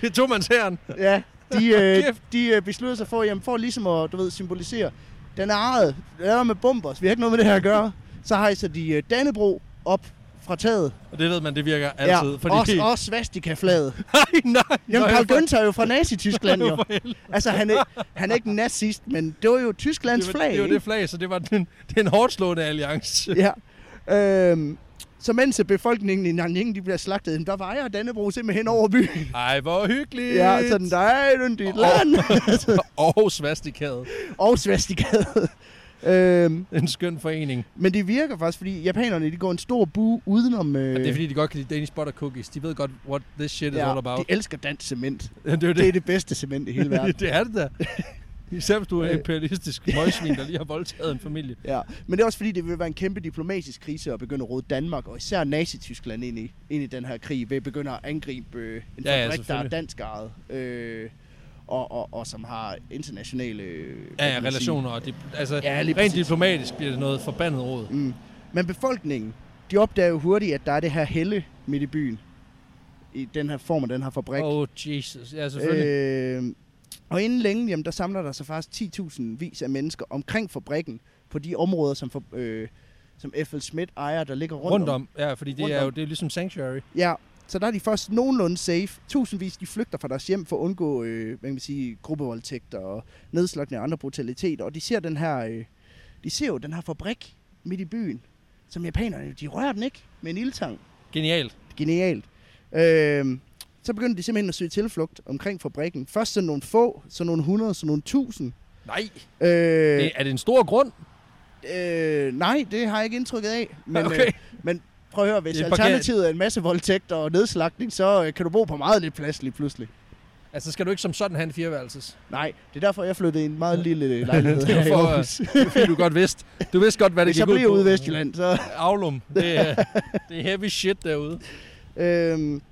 det er to mands herren. ja, de, øh, Kæft. de øh, besluttede sig for, jamen, for ligesom at du ved, symbolisere, den er ejet, den er med bombers, vi har ikke noget med det her at gøre. Så hejser de øh, Dannebro op fra taget. Og det ved man, det virker altid. ja, fordi også, også svastika-flaget. Nej, nej. Jamen, nej, Karl for- Günther er jo fra Nazi-Tyskland, jo. for helvede. Altså, han er, han er ikke nazist, men det var jo Tysklands det var, flag, Det var ikke? det flag, så det var den, den hårdt slående alliance. Ja. Øhm, så mens befolkningen i Nanjing de bliver slagtet, jamen, der vejer Dannebro simpelthen over byen. Ej, hvor hyggeligt. Ja, altså, sådan, der er et yndigt Åh. land. Og svastikadet. og svastikaet. øhm, En skøn forening. Øh. men det virker faktisk, fordi japanerne de går en stor bu udenom... Øh, Det er fordi, de godt kan lide Danish Butter Cookies. De ved godt, what this shit is all about. de elsker dansk cement. Det, det er jo Det er det. det bedste cement i hele verden. det er det der. Især hvis du er en Øh. imperialistisk møgsvin, der lige har voldtaget en familie. Ja, men det er også fordi, det vil være en kæmpe diplomatisk krise at begynde at råde Danmark, og især Nazi-Tyskland ind i, ind i den her krig, ved at begynde at angribe øh, en Ja, ja, fabrik, der er selvfølgelig. dansk ejet, øh, og, og, og som har internationale... øh, hvad Ja, kan ja, man relationer. Og dip- altså, Ja, rent lige præcis. diplomatisk bliver det noget forbandet råd. sige. Mm. Men befolkningen, de opdager jo hurtigt, at der er det her helle midt i byen, i den her form af den her fabrik. Oh, Jesus. Ja, selvfølgelig. Øh, og inden længe, jamen, der samler der sig faktisk 10.000 vis af mennesker omkring fabrikken, på de områder, som, for, øh, som F.L. Schmidt ejer, der ligger rundt, Rundt om. Ja, fordi det Rundt er jo om. det er ligesom Sanctuary. Ja, så der er de først nogenlunde safe. Tusindvis de flygter fra deres hjem for at undgå øh, hvad kan man sige, gruppevoldtægter og nedslagning af andre brutaliteter. Og de ser, den her, øh, de ser jo den her fabrik midt i byen, som japanerne, de rører den ikke med en ildtang. Genialt. Genialt. Øh, så begynder de simpelthen at søge tilflugt omkring fabrikken. Først sådan nogle få, så nogle hundrede, så nogle tusind. Nej. Øh, Det, er det en stor grund? øh, nej, det har jeg ikke indtrykket af. Men, Okay. øh, men prøv at høre, hvis Det er parkeret. alternativet er en masse voldtægt og nedslagning, så øh, kan du bo på meget lidt plads lige pludselig. Altså, skal du ikke som sådan have en fireværelses? Nej, det er derfor, jeg flyttede i en meget lille lejlighed Det er her i for, øh, Aarhus. Det er fordi, du godt vidste. Du vidste godt, hvad det Hvis jeg gik bliver ud ude i på. Vestjylland, så... Avlum. Det er, det er heavy shit derude. Øhm,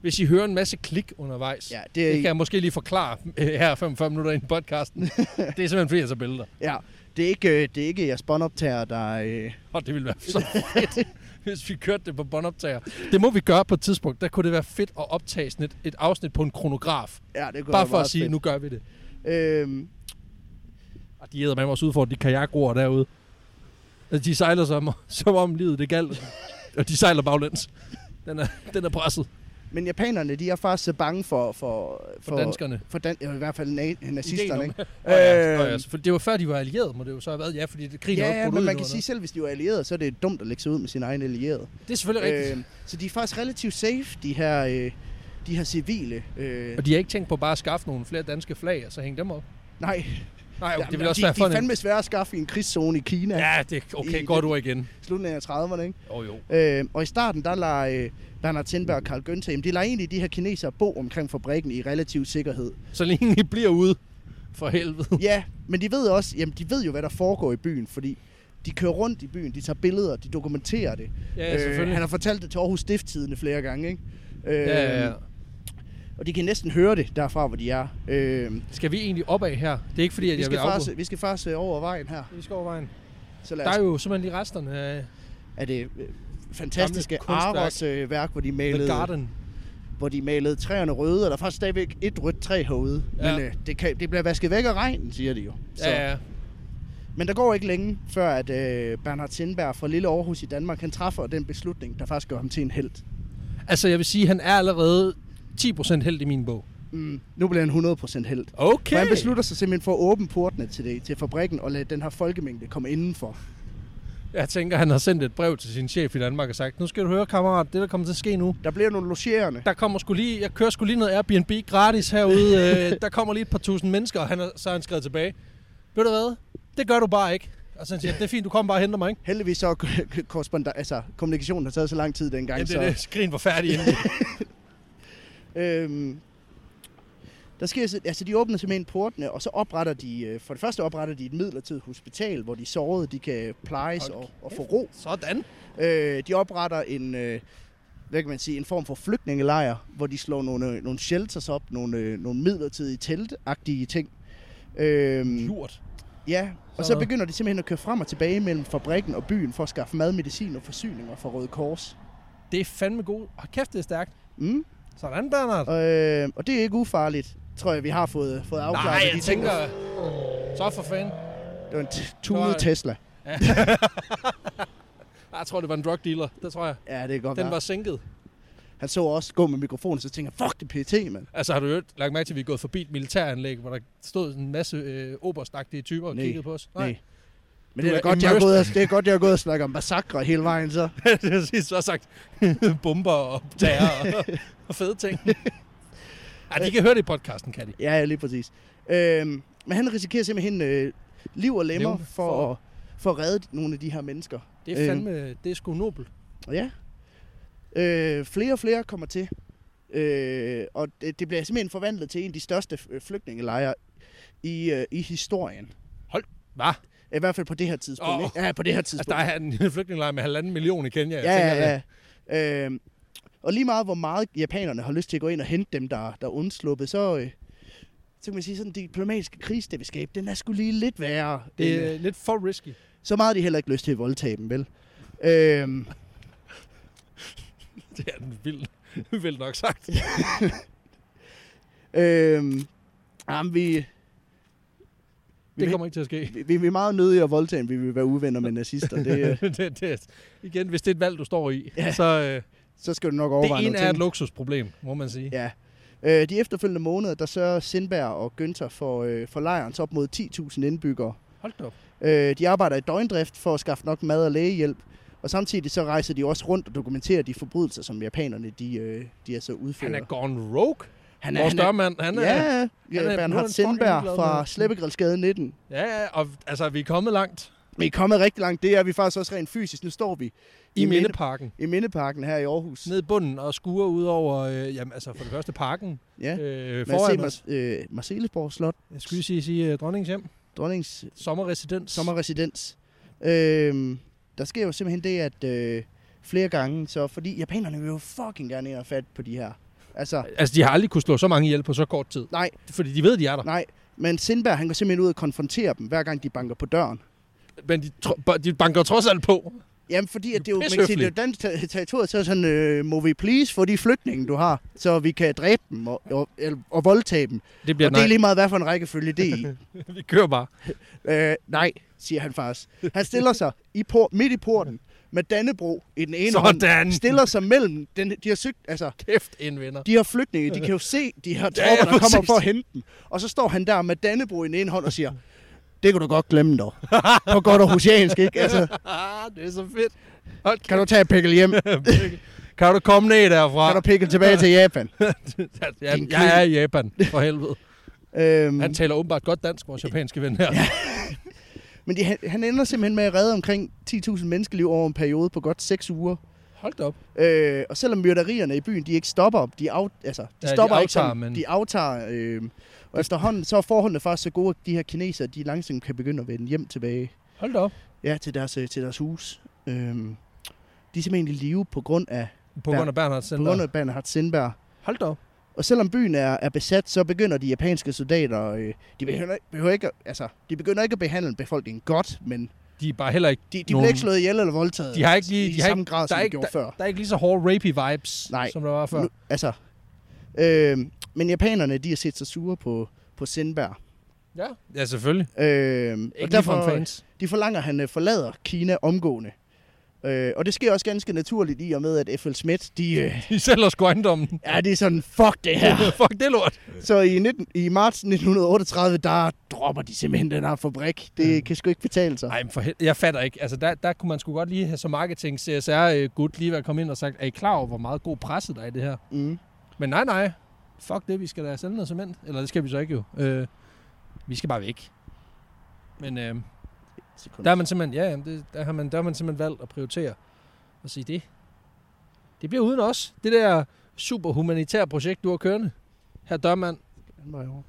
Hvis I hører en masse klik undervejs, ja, ja, det, det kan er, jeg måske lige forklare øh, her 45 minutter ind i podcasten. det er simpelthen fordi, jeg tager billeder. ja, det er ikke, øh, det er ikke jeres båndoptager, der... Øh, Og det ville være så fedt. hvis vi kørte det på båndoptager. Det må vi gøre på et tidspunkt. Der kunne det være fedt at optage sådan et, et afsnit på en kronograf. Ja, det går Bare for at sige, nu gør vi det. Øhm, Og Ah, de æder med også udfordret, de kajakroer derude. Altså, de sejler som, som om livet det galt. Og de sejler baglæns. Den er, den er presset men japanerne, de er faktisk så bange for... For, for, for danskerne. For dan- ja, i hvert fald na- Ideen om- nazisterne, ikke? Nå ja, nå Øhm, ja, for det var før, de var allieret, må det jo så have været. Ja, fordi det, krigen er jo Ja, ikke ja, brudt men ud man endnu, kan eller sige, selv hvis de var allierede, så er det dumt at lægge sig ud med sine egne allierede. noget. Det er selvfølgelig rigtigt. Øh, så de er faktisk relativt safe, de her, øh, de her civile. Øh, Og de har ikke tænkt på bare at skaffe nogle flere danske flag, og så hænge dem op. nej, Nej, okay, det jamen, ville også de, være de er fundet. fandme svære at skaffe i en krigszone i Kina. Ja, det er okay, I- godt ord igen. Slutningen af 30'erne, ikke? Jo, jo. Øh, og i starten, der lader øh, Bernhard Tindberg og Karl Günther, jamen, de lader egentlig de her kinesere bo omkring fabrikken i relativ sikkerhed. Så længe I bliver ude, for helvede. Ja, men de ved også, jamen de ved jo, hvad der foregår i byen, fordi de kører rundt i byen, de tager billeder, de dokumenterer det. Øh, Ja, selvfølgelig. han har fortalt det til Aarhus Stifttidene flere gange, ikke? Øh, Øh, Ja, ja, ja. Og de kan næsten høre det derfra, hvor de er. Øh, Skal vi egentlig opad her? Det er ikke fordi, at vi, jeg skal vil afbryde. faktisk, vi skal faktisk øh, over vejen her. Vi skal over vejen. Så lad Der os, er jo simpelthen lige resterne af er det øh, fantastiske Gamle kunstværk. Aros øh, værk, hvor de, The malede, Garden. hvor de malede træerne røde, og der er faktisk stadigvæk et rødt træ herude. Ja. Men øh, det, kan, det bliver vasket væk af regnen, siger de jo. Så. Ja, ja. Men der går ikke længe, før at øh, Bernhard Sindberg fra Lille Aarhus i Danmark, han træffer den beslutning, der faktisk gør ham til en held. Altså, jeg vil sige, at han er allerede 10% held i min bog. Mm, nu bliver han 100% held. Okay. For han beslutter sig simpelthen for at åbne portene til, det, til fabrikken og lade den her folkemængde komme indenfor. Jeg tænker, han har sendt et brev til sin chef i Danmark og sagt, nu skal du høre, kammerat, det der kommer til at ske nu. Der bliver nogle logerende. Der kommer sgu lige, jeg kører sgu lige noget Airbnb gratis herude. øh, der kommer lige et par tusind mennesker, og han er, så har han skrevet tilbage. Ved du hvad? Det gør du bare ikke. Og så siger han, det er fint, du kommer bare og henter mig, ikke? Heldigvis så er korresponder, altså, kommunikationen har taget så lang tid dengang. Ja, det så, er det. Skrin var færdig inden. Øhm, der sker, så- altså de åbner simpelthen portene, og så opretter de, øh, for det første opretter de et midlertidigt hospital, hvor de sårede, de kan plejes Hold og, og få ro. Sådan. Øh, de opretter en, øh, hvad kan man sige, en form for flygtningelejr, hvor de slår nogle, øh, nogle shelters op, nogle, øh, nogle midlertidige teltagtige ting. Øh, Lurt. ja, og så Sådan. begynder de simpelthen at køre frem og tilbage mellem fabrikken og byen for at skaffe mad, medicin og forsyninger fra Røde Kors. Det er fandme god. Hold kæft, det er stærkt. Mm. Sådan, Bernard. Øh, og det er ikke ufarligt, tror jeg, vi har fået, fået afklaret. Nej, hvad jeg de ting, tænker... der- Så for fanden. Det var en t- Det tunet var- Tesla. Ah, Jeg tror, det var en drug dealer. Det tror jeg. Ja, det kan godt Den være. var sænket. Han så også gå med mikrofonen, så tænker jeg, fuck det PT, mand. Altså har du jo lagt mærke til, at vi er gået forbi et militæranlæg, hvor der stod en masse øh, oberstagtige typer og Nej. kiggede på os? Nej. Men Du det er, er da godt, jeg har immersed. gået, og- det er godt, jeg har gået og snakket om massakre hele vejen, så. det har sidst så sagt bomber og terror og, og fede ting. Ej, de kan høre det i podcasten, kan de. Ja, ja, lige præcis. Øhm, men han risikerer simpelthen øh, liv og lemmer Levende for, for, at, for at redde nogle af de her mennesker. Det er fandme, det er sgu nobel. Og ja, øh, flere og flere kommer til. Øh, og det, det bliver simpelthen forvandlet til en af de største øh, flygtningelejre i, øh, i historien. Hva? I hvert fald på det her tidspunkt. Åh. Oh. Ja, på det her tidspunkt. Altså, der er en flygtningelejr med halvanden million i Kenya. Jeg ja, tænker, ja, ja. Øhm, og lige meget, hvor meget japanerne har lyst til at gå ind og hente dem, der, der er undsluppet, så, øh, så kan man sige, sådan den diplomatiske krise, det vil skabe, den er sgu lige lidt værre. end, Det øh, er lidt for risky. Så meget har de heller ikke lyst til at voldtage dem, vel? Øhm, Det er den vild, vildt nok sagt. øhm, jamen, vi, Det vil- kommer ikke til at ske. vi, vi er meget nødige at voldtage dem, vi vil være uvenner med nazister. Det, øh, det, det, igen, hvis det er et valg, du står i, Ja. så øh, så skal du nok det overveje ene nogle er et ting. luksusproblem, må man sige. Ja. Øh, de efterfølgende måneder, der sørger Sindberg og Günther for, øh, for lejrens op mod 10.000 indbyggere. Hold da op. Øh, de arbejder i døgndrift for at skaffe nok mad og lægehjælp, og samtidig så rejser de også rundt og dokumenterer de forbrydelser, som japanerne de, øh, de er så udfører. Han er gone rogue. han Vores dørmand, han han er... er, ja, han ja, er- nu er han Bernhard fucking Sindberg ligeglad med- fra Slæbegrilsgade 19. Ja, ja, og altså, vi er kommet langt Vi er kommet rigtig langt, det er vi faktisk også rent fysisk. Nu står vi i, I I minde- Mindeparken. i Mindeparken her i Aarhus. Ned i bunden og skuer ud over, øh, jamen, altså for det første parken Ja. ja. øh, Man ser foran os. Mar- øh, Marcellesborg Slot, Jeg skulle lige sige, sige øh, dronningens hjem, dronningens sommerresidens. sommerresidens. Øh, der sker jo simpelthen det, at øh, flere gange, så fordi japanerne vil jo fucking gerne ind og have fat på de her. Altså, Altså, de har aldrig kunne slå så mange ihjel på så kort tid. nej, Fordi de ved, de er der. Nej, men Sindberg, han går simpelthen ud og konfronterer dem, hver gang de banker på døren. Men de, tro- de banker trods alt på. Jamen, fordi at det er jo, man kan sige, Pishøflig. det er jo dansk ter- territoriet, så er det sådan, øh, må vi please få de flygtninge, du har, så vi kan dræbe dem og, og, eller- og voldtage dem. Det bliver Ja, og det er nej. lige meget, hvad for en rækkefølge det er i. Vi kører bare. øh, nej, siger han faktisk. Han stiller sig i por- midt i porten med Dannebro i den ene hånd. Sådan. Stiller sig mellem, den, de har søgt, altså, Kæft, en vinder. de her flygtninge, de kan jo se de her Ja, tropper, ja, der kommer præcis. for at hente dem. Og så står han der med Dannebro i den ene hånd og siger, det kunne du godt glemme dog. På godt og husiansk, ikke? Altså, det er så fedt. Hold kan du tage et pikkel hjem? kæft. kan du komme ned derfra? Kan du pikkel tilbage til Japan? ja, Din jeg er i Japan, for helvede. Øhm, Han taler åbenbart godt dansk, vores japanske ven her. men de, han, han ender simpelthen med at redde omkring 10.000 menneskeliv over en periode på godt 6 uger. Hold da op. Øh, og selvom myrderierne i byen, de ikke stopper, de, af, altså, de Ja, de stopper aftager, ikke sådan, men- de aftager. Øh, og efterhånden, så er forholdene faktisk så gode, at de her kinesere, de langsomt kan begynde at vende hjem tilbage Hold da op. ja, til, deres, øh, til deres hus. Øh, de er simpelthen i live på grund af, På Ja. grund af Bernhard på Sender. grund af Bernhard Sindberg. Hold da op. Og selvom byen er, er besat, så begynder de japanske soldater, øh, de, behøver, behøver ikke, at- altså, de begynder ikke at behandle befolkningen godt, men De er bare heller ikke... de, de nogen- bliver ikke slået ihjel eller voldtaget De har ikke lige... i De har samme ikke, grad, der som er de ikke, gjorde der, før. der er ikke lige så hårde rapey vibes, Nej. som der var før. Nu, altså, øh, men japanerne, de har set sig sure på, på Sindberg. Ja, ja selvfølgelig. Øh, Ikke og lige for en derfor, fans. de forlanger, at han øh, forlader Kina omgående. Øh, og det sker også ganske naturligt i og med, at F.L. Schmidt, de, øh, De sælger sgu ejendommen. ja, det er sådan, fuck det her. Fuck det lort. Så i, 19, i marts 1938, der dropper de simpelthen den her fabrik. Det Mm. kan sgu ikke betale sig. Nej, men for hel... jeg fatter ikke. Altså, der, der kunne man sgu godt lige have så marketing csr gut øh, lige være kommet ind og sagt, er I klar over, hvor meget god presse der er i det her? Mm. Men nej, nej. Fuck det, vi skal da sælge noget cement. Eller det skal vi så ikke jo. Øh, vi skal bare væk. Men øh, der er man simpelthen, ja, jamen, det, der, har man, der har man simpelthen valgt at prioritere og sige det. Det bliver uden os. Det der super humanitære projekt, du har kørende. Her dørmand. Den vej over.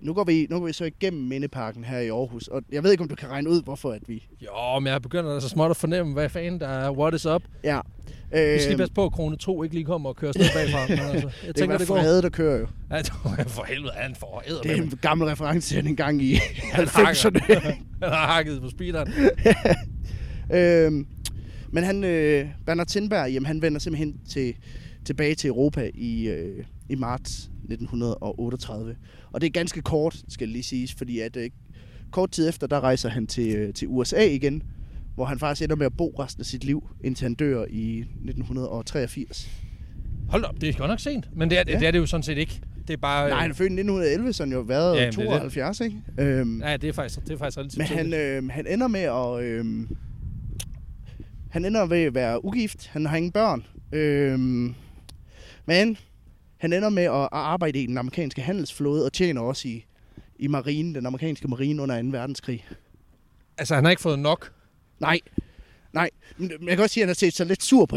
Nu går, vi, nu går vi så igennem Mindeparken her i Aarhus, og jeg ved ikke, om du kan regne ud, hvorfor at vi... Jo, men jeg begynder altså småt at fornemme, hvad fanden der er what is up. Ja. Vi skal lige passe på, at krone 2 ikke lige kommer og kører afsted bagfra. Men altså, jeg Øhm. det kan tænker, være det går. Frede, der kører jo. Ja, det var- for helvede, han får æder Det er en gammel reference, han engang i hakker 90'erne. Han har hakket på speederen. øhm, men han, øh, Bernard Tindberg, jamen, han vender simpelthen til, tilbage til Europa i, øh, i marts 1938. Og det er ganske kort, skal lige siges, fordi at, øh, kort tid efter, der rejser han til, øh, til USA igen, hvor han faktisk ender med at bo resten af sit liv, indtil han dør i 1983. Hold da op, det er godt nok sent. Men det er, Ja. det, er det jo sådan set ikke. Det er bare... Nej, han er født i 1911, så han jo har været Ja, ja, men det er det. 72, ikke? Øhm, Ja, det er faktisk, det er faktisk relativt Men han, tidligt. øh, han ender med at... Øh, han ender ved at være ugift. Han har ingen børn. Øh, men han ender med at, at arbejde i den amerikanske handelsflåde og tjener også i, i marinen, den amerikanske marine under 2. verdenskrig. øh- Altså, han har ikke fået nok. Nej, nej. Men men jeg kan også sige, at han har set sig lidt sur på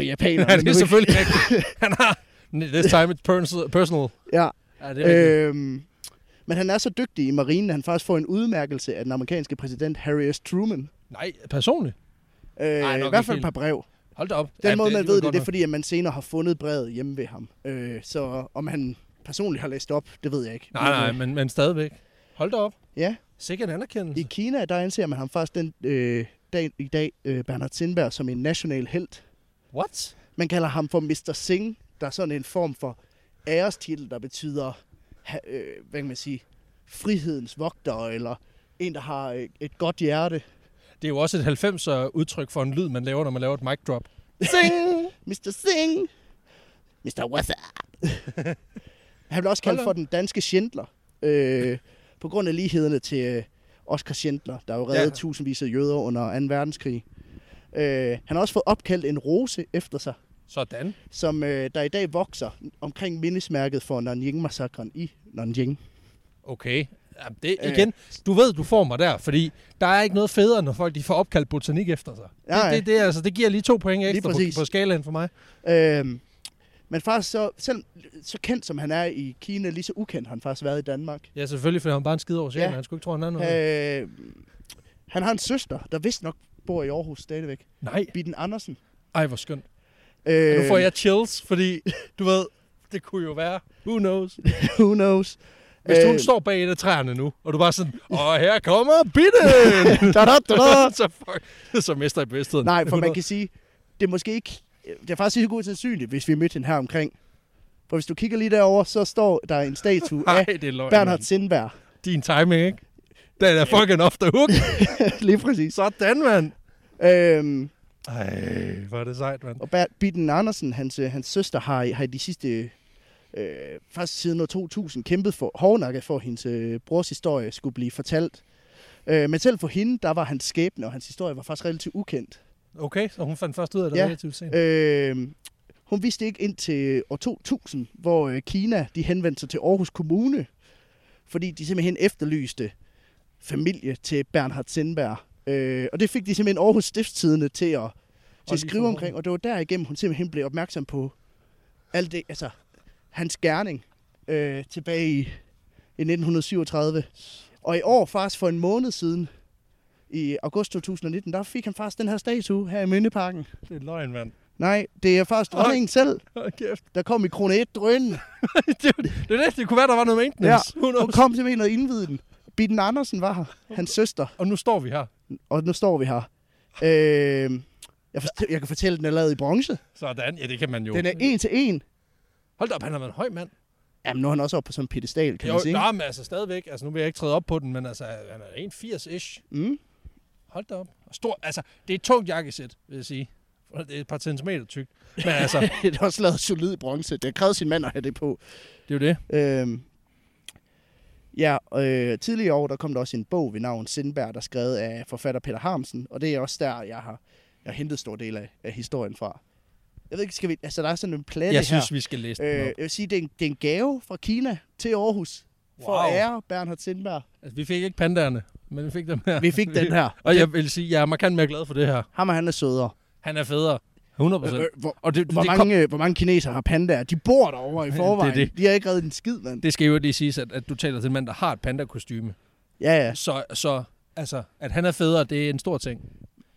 japanerne. Ja, det nu, er ikke? selvfølgelig ikke. Han har... This time it's perso- personal. Ja. Ja, det er øh, Øhm, men han er så dygtig i marinen, at han faktisk får en udmærkelse af den amerikanske præsident Harry S. Truman. Nej, personligt. Øh, nok I ikke hvert fald et helt. par brev. Hold da op. Den ja, ja, måde, man ved alligevel det, godt det er nok. fordi, at man senere har fundet brevet hjemme ved ham. Øh, så om han personligt har læst op, det ved jeg ikke. øh, Nej, nej, men, men stadigvæk. Hold da op. Ja, Sikkert en anerkendelse. i Kina, der anser man ham faktisk den øh, dag i dag, øh, Bernard Sindberg, som en national held. What? Man kalder ham for Mr. Singh, der er sådan en form for ærestitel, der betyder, ha, øh, hvad kan man sige, frihedens vogter, eller en, der har øh, et godt hjerte. Det er jo også et 90'er udtryk for en lyd, man laver, når man laver et mic drop. Zing! Mr. Singh! Mr. What's up? Han blev også kaldt Hold for den danske Schindler, øh, på grund af lighederne til øh, Oscar Schindler, der jo reddede Ja. ja. tusindvis af jøder under 2. verdenskrig. Øh, han har også fået opkaldt en rose efter sig, Sådan. som øh, der i dag vokser omkring mindesmærket for Nanjing-massakren i Nanjing. Okay. Jamen, det, Øh. igen, du ved, du får mig der, fordi der er ikke noget federe, når folk de får opkaldt botanik efter sig. Nej. Det, det, det, er altså, det giver lige to point ekstra på, præcis. på skalaen for mig. Øh, men faktisk så, selv så kendt som han er i Kina, lige så ukendt har han faktisk været i Danmark. Ja, selvfølgelig, for han er bare en skide over ja. Ja. Han skulle ikke tro, han er noget. Øh, han har en søster, der vist nok bor i Aarhus stadigvæk. Nej. Bitten Andersen. Ej, hvor skønt. Øh, Øh. Nu får jeg chills, fordi du ved, det kunne jo være. Who knows? Who knows? Hvis øh... hun står bag et af træerne nu, og du bare sådan, og her kommer bitten! da, da, da, da. så, fuck, så mister jeg bevidstheden. Nej, for man kan sige, det er måske ikke... Det er faktisk ikke god sandsynligt, hvis vi mødte hende her omkring. For hvis du kigger lige derover, så står der en statue Nej, af det er løgn. Bernhard Sindberg. Din timing, ikke? Den er fucking off the hook. lige præcis. Sådan, mand. Øhm, Ej, hvor er det sejt, mand. og Ber- Bitten Andersen, hans, øh, hans søster, har, i- har i de sidste... Øh, faktisk siden år 2000 kæmpet for hårdnakket for, at hendes øh, brors historie skulle blive fortalt. Øh, men selv for hende, der var hans skæbne, og hans historie var faktisk relativt ukendt. Okay, så hun fandt først ud af det Ja. ja. relativt sent. Øh, hun vidste ikke indtil år 2000, hvor øh, Kina de henvendte sig til Aarhus Kommune, fordi de simpelthen efterlyste familie til Bernhard Sindberg. Øh, og det fik de simpelthen Aarhus Stiftstidende til at, til lige at få skrive omkring, og det var derigennem, hun simpelthen blev opmærksom på alt det, altså hans gerning øh, tilbage i, i 1937. Og i år, faktisk for en måned siden, i august 2019, der fik han faktisk den her statue her i Mønneparken. Det er løgn, mand. Nej, det er faktisk Nej. dronningen selv, Hold kæft. der kom i krone 1 drøn. det, er- det, er det, det kunne være, der var noget maintenance. Ja. Hun kom simpelthen og indvidede den. Bitten Andersen var her, hans søster, Og nu står vi her. og nu står vi her. Øh, jeg, forst- jeg kan fortælle, at den er lavet i bronze. Sådan. Ja, det kan man jo. Den er en til en. Hold da op, han har været en høj mand. Jamen, nu er han også oppe på sådan en pedestal, kan Jo, man sige. nej, men altså stadigvæk. Altså, nu vil jeg ikke træde op på den, men altså, han er 1,80-ish. Mm. Hold da op. Og Stor, altså, det er et tungt jakkesæt, vil jeg sige. Det er et par centimeter tykt. Men altså, det er også lavet solid i bronze. Det har krævet sin mand at have det på. det er jo det. Øhm, ja, og, øh, tidligere i år, der kom der også en bog ved navn Sindberg, der er skrevet af forfatter Peter Harmsen, og det er også der, jeg har, jeg har hentet stor del af, af historien fra. Jeg ved ikke, skal vi... Altså, der er sådan en plade Jeg her. synes, vi skal læse øh, den jeg op. vil sige, det er, en, det er en gave fra Kina til Aarhus for Wow. at ære Bernhard Sindberg. Altså, vi fik ikke pandaerne, men vi fik dem her. Vi fik den her. Og jeg vil sige, jeg er markant mere glad for det her. Ham og han er sødere. Han er federe. 100 procent. Øh, hvor, Og det, det, hvor, det, kom, mange, øh, hvor mange kinesere har pandaer? De bor derovre i Det er forvejen. det. De har ikke reddet en skid, mand. det skal jo lige siges, at, at du taler til en mand, der har et pandakostyme. Ja, ja. Så, så altså, at han er federe, det er en stor ting.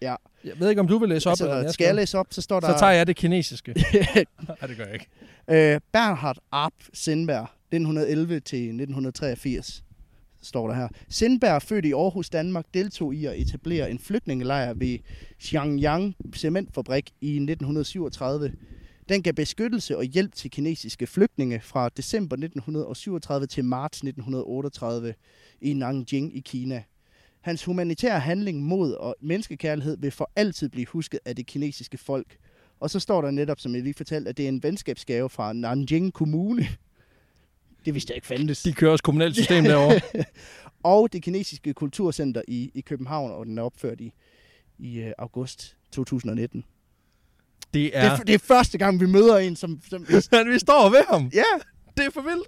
Ja. Jeg ved ikke, om du vil læse op, eller om Altså, jeg skal jeg læse op, så står der... Så tager jeg det kinesiske. Nej, det gør jeg ikke. Øh, Bernhard Arp Sindberg, 1911 til 1983, står der her. Sindberg, født i Aarhus, Danmark, deltog i at etablere en flygtningelejr ved Xiangyang Cementfabrik i 1937. Den gav beskyttelse og hjælp til kinesiske flygtninge fra december 1937 til marts 1938 i Nanjing i Kina. Hans humanitære handling, mod og menneskekærlighed vil for altid blive husket af det kinesiske folk. Og så står der netop, som jeg lige fortalte, at det er en venskabsgave fra Nanjing Kommune. Det vidste jeg ikke fandtes. De kører også kommunalt system derovre. Og det kinesiske kulturcenter i, i København, og den er opført i, i øh, august 2019. Det Ja. Det, er... er, det er første gang, vi møder en, som... som Men vi står ved ham. ja, Det er for vildt.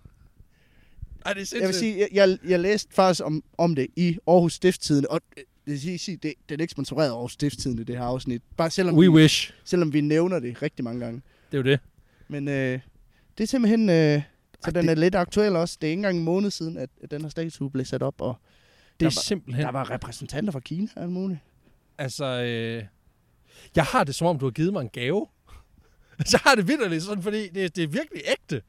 Ej, det er sindssygt. jeg vil sige, jeg, jeg, jeg læste faktisk om, om det i Aarhus Stifttidende, og øh, det, vil sige- sige, det, det er ikke sponsoreret af Aarhus Stifttidende, det her afsnit. Bare selvom, We vi, wish. selvom vi nævner det rigtig mange gange. Det er jo det. Men øh, det er simpelthen... Øh, så Ej, den det- er lidt aktuel også. Det er ikke engang en måned siden, at, at den her statue blev sat op, og Det Der er var- simpelthen... der var repræsentanter fra Kina og alt muligt. Altså, øh, jeg har det som om, du har givet mig en gave. Så har det vidderligt sådan, fordi det, det er virkelig ægte.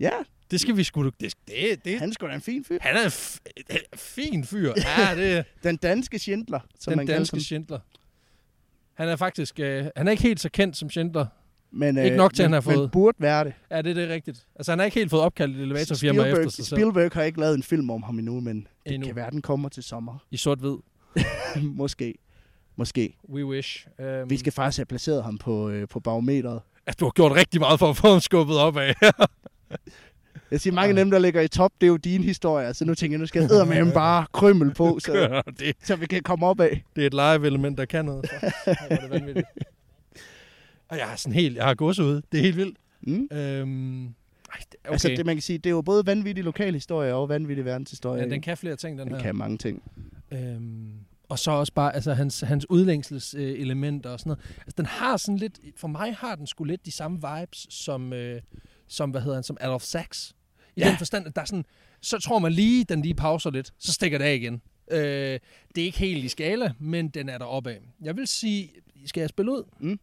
Ja, Det skal vi sgu... Det, det, det, han er sgu da en fin fyr. han er en f- en fin fyr. Ja, det er Den danske Schindler, som den man kalder danske ham. Schindler. Han er faktisk... Øh, han er ikke helt så kendt som Schindler. Men, øh, Ikke nok til, men, han har Men fået- burde være det. Ja, det, det er rigtigt. Altså, han har ikke helt fået opkaldt et elevatorfirma efter sig selv. Spielberg har ikke lavet en film om ham endnu, men det Endnu. kan være, den kommer til sommer. I sort-hvid. Måske. Måske. We wish. Um, Vi skal faktisk have placeret ham på, øh, på barometeret. at Altså, du har gjort rigtig meget for at få ham skubbet op af. Jeg siger, mange af dem, der ligger i top, det er jo dine historier, så nu tænker jeg, nu skal jeg med bare krømmel på, så, det, så vi kan komme op af. det er et live-element, der kan noget. Fuck, hvor er det vanvittigt. Og jeg har sådan helt, jeg har gået ud. Det er helt vildt. Mm? Øhm, ej, det- okay. Okay. Altså, det, man kan sige, det er jo både vanvittig lokalhistorie og vanvittig verdenshistorie. ja, den ikke? kan flere ting, den, den her. kan mange ting. Øhm, og så også bare altså, hans, hans udlængselselementer og sådan noget. Altså, den har sådan lidt, for mig har den sgu lidt de samme vibes som, øh, som hvad hedder han, som Adolf Sachs. I Ja. ja. den forstand, at der er sådan, så tror man lige, den lige pauser lidt, så stikker det af igen. Øh, det er ikke helt i skala, men den er der opad. Jeg vil sige, skal jeg spille ud? Mm.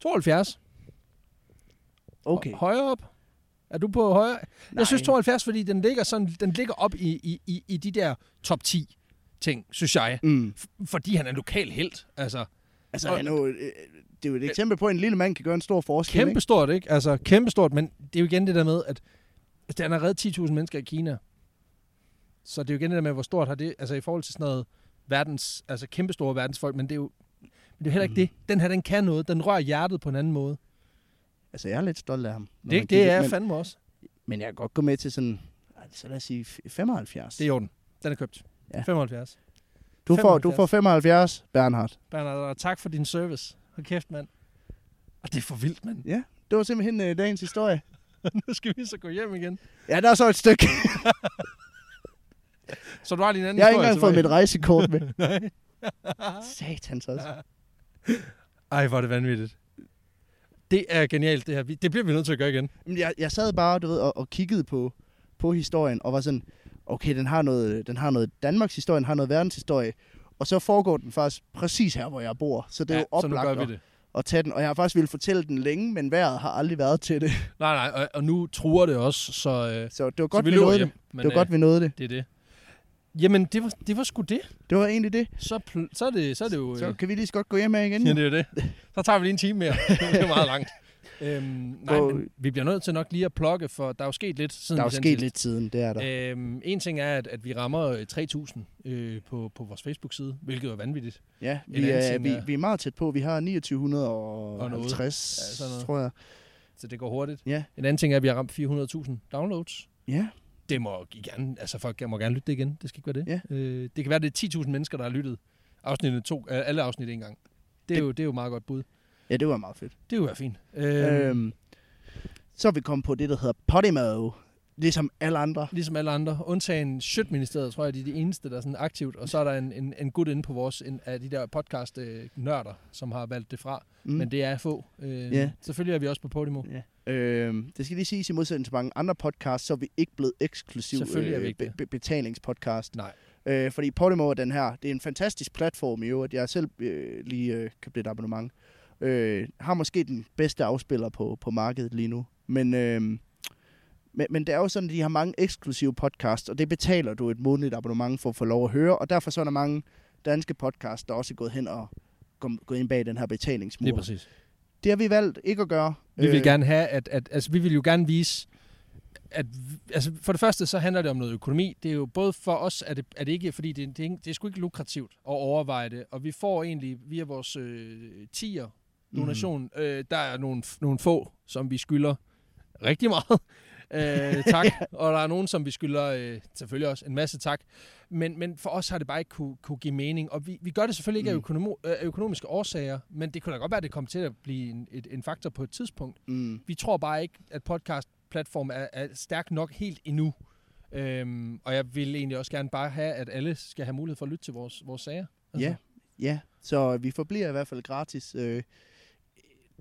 72. Okay. Højere op. Er du på højre? Nej. Nej. Jeg synes 72, fordi den ligger, sådan, den ligger op i, i, i, i de der top 10 ting, synes jeg. Mm. F- fordi han er en lokal held. Altså, Altså, Og- han er jo, øh, det er jo et eksempel på, at en lille mand kan gøre en stor forskel. kæmpe stort, ikke? Altså, kæmpe stort, men det er jo igen det der med, at at han har reddet 10.000 mennesker i Kina. Så det er jo igen det der med, hvor stort har det, altså i forhold til sådan noget verdens, altså kæmpestore verdensfolk, men det er jo, men det er jo heller ikke Mhm. det. Den her, den kan noget. Den rører hjertet på en anden måde. Ikke? Altså, jeg er lidt stolt af ham. når man Det, det kigger, er jeg men, fandme også. men jeg kan godt gå med til sådan, altså lad os sige f- 75. Det er i orden. Den er købt. Ja. Ja. 75. du, får, du får 75, Bernhard. Bernard, og tak for din service. Hold kæft, mand. Og Ah, det er for vildt, mand. Ja, det var simpelthen øh, dagens historie. nu skal vi så gå hjem igen. Ja, der er så et stykke. Så du har din anden Jeg har ikke historie engang fået mit tilbage. rejsekort med. Satans også. Ej, hvor er det vanvittigt. Det er genialt, det her. Vi- Det bliver vi nødt til at gøre igen. Jamen, Jeg, jeg sad bare, du ved, og, og kiggede på, på historien, og var sådan, okay, den har noget, den har noget Danmarks historie, den har noget verdenshistorie, og så foregår den faktisk præcis her, hvor jeg bor. Så det er ja, jo så nu oplagt gør at, vi det. at tage den, og jeg har faktisk ville fortælle den længe, men vejret har aldrig været til det. Nej, nej, og, og nu truer det også, så, øh, Så det var så godt, vi vi, løber nåede hjem. det. Men, øh, Det var godt, vi nåede det. det er det. Jamen, det var, det var sgu det. Det var egentlig det. Så, pl- så, er, det, så er det jo... Så øh, kan vi lige så godt gå hjem her igen. Ja, det er jo det. Så tager vi lige en time mere. det er meget langt. Øhm, nej, Hvor- men vi bliver nødt til nok lige at plukke, for der er jo sket lidt siden der vi er jo sendte sket sidst. lidt siden, det er der. Øhm, en ting er, at, at vi rammer øh, 3.000 øh, på, på vores Facebook-side, hvilket er vanvittigt. Ja, en vi anden er, ting vi, er- vi er meget tæt på. Vi har Og noget. 2950, Ja, sådan noget. tror jeg. Så det går hurtigt. Ja. En anden ting er, at vi har ramt 400.000 downloads. Ja, Det må I gerne, altså folk må gerne lytte det igen. Det skal ikke være det. Øh, det kan være, det er 10.000 mennesker, der har lyttet afsnittene to, øh, alle afsnit en gang. Det er, jo, det er jo meget godt bud. ja det var meget fedt. Det vil være fint. Øh, øh. Øhm, så er vi kommet på det, der hedder Podimo. Ligesom alle andre. Ligesom alle andre, undtagen Sjøtministeriet, tror jeg, de er de eneste, der er sådan aktivt. Og så er der en, en, en gut inde på vores, en af de der podcast-nørder, som har valgt det fra. Mm. Mm. Men det er få. Øh, Ja. Selvfølgelig er vi også på Podimo. ja. øhm, det skal lige siges i modsætning til mange andre podcasts, så er vi ikke blevet eksklusiv øh, Selvfølgelig er vi ikke be- det. be- betalingspodcast. Nej. Øh, fordi Podimo er den her. Det er en fantastisk platform i øvrigt. Jeg har selv øh, lige øh, købt et abonnement. Øh, har måske den bedste afspiller på, på markedet lige nu. Men, øh, men, men det er jo sådan, at de har mange eksklusive podcasts, og det betaler du et månedligt abonnement for at få lov at høre. Og derfor så er der mange danske podcasts, der også er gået hen og kom- gået ind bag den her betalingsmur. Det er præcis. Det har vi valgt ikke at gøre. Vi vil Øh, gerne have, at, at altså, vi vil jo gerne vise, at vi- altså, for det første så handler det om noget økonomi. Det er jo både for os, at det, er det ikke, fordi det, det, er, ikke- det er sgu ikke lukrativt at overveje det, og vi får egentlig via vores øh, tier donation, mm. øh, der er nogle, nogle få, som vi skylder rigtig meget. øh, tak. Og der er nogen, som vi skylder øh, selvfølgelig også en masse tak. Men, men for os har det bare ikke kunne, kunne give mening. Og vi, vi gør det selvfølgelig ikke af, Mm. økonomo, øh, af økonomiske årsager, men det kunne da godt være, at det kom til at blive en, et, en faktor på et tidspunkt. Mm, Vi tror bare ikke, at podcast-platformen er, er stærk nok helt endnu. Øhm, og jeg vil egentlig også gerne bare have, at alle skal have mulighed for at lytte til vores, vores sager. Altså, ja, ja. Så vi forbliver i hvert fald gratis. Øh,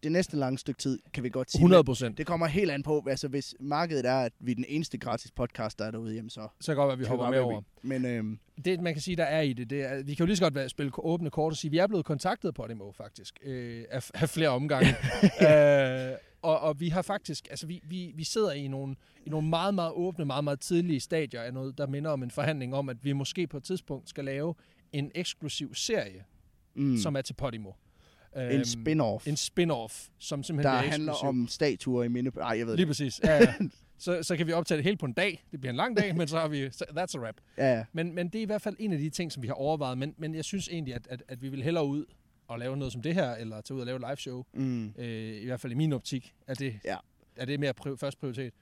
det næste lange stykke tid, kan vi godt sige. 100 procent. Det kommer helt an på, altså hvis markedet er, at vi er den eneste gratis podcast, der er derude, jamen så... Så kan det godt være, at vi kan hopper godt med være, over. vi- Men øhm, det, man kan sige, der er i det, det er, vi kan jo lige så godt være, spille åbne kort og sige, vi er blevet kontaktet på Podimo faktisk, øh, af, af flere omgange. øh, og, og vi har faktisk, altså vi, vi, vi sidder i nogle, i nogle meget, meget åbne, meget, meget tidlige stadier af noget, der minder om en forhandling om, at vi måske på et tidspunkt skal lave en eksklusiv serie, mm, mm. som, som er til Podimo. en Øhm, spin-off, en spin-off, som simpelthen der bliver handler eksklusiv. om statuer i mine... Ej, jeg ved Lige det. præcis. Ja, ja. Så, så kan vi optage det hele på en dag. Det bliver en lang dag, men så har vi... så- That's a wrap. Ja, ja. Men, men det er i hvert fald en af de ting, som vi har overvejet. Men, men jeg synes egentlig, at, at, at vi vil hellere ud og lave noget som det her, eller tage ud og lave et liveshow. Mm. Øh, I hvert fald i min optik er det, Ja. er det mere pri- først prioritet.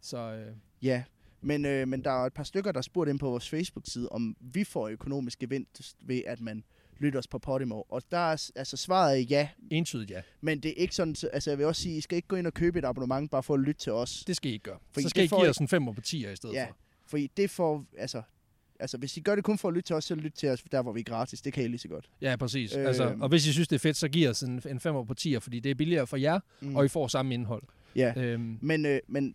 Så øh, ja. Men, øh, men der er et par stykker, der spurgte ind på vores Facebook-side, om vi får økonomisk gevinst ved, at man lytter os på Podimo. Og der er, s- altså svaret er ja, entydigt ja. men det er ikke sådan... så- Altså jeg vil også sige, I skal ikke gå ind og købe et abonnement bare for at lytte til os. Det skal I ikke gøre. Fordi så det skal I får give I- os en femmer på 10'er i stedet Ja, for. fordi det får... Altså, altså hvis I gør det kun for at lytte til os, så lyt til os der, hvor vi er gratis. Det kan I lige så godt. Ja, præcis. Øh, Øh, altså, og hvis I synes, det er fedt, så giv os en, en femmer på 10'er, fordi det er billigere for jer, Mm. mm. og I får samme indhold. Ja. Øhm, Men, øh, men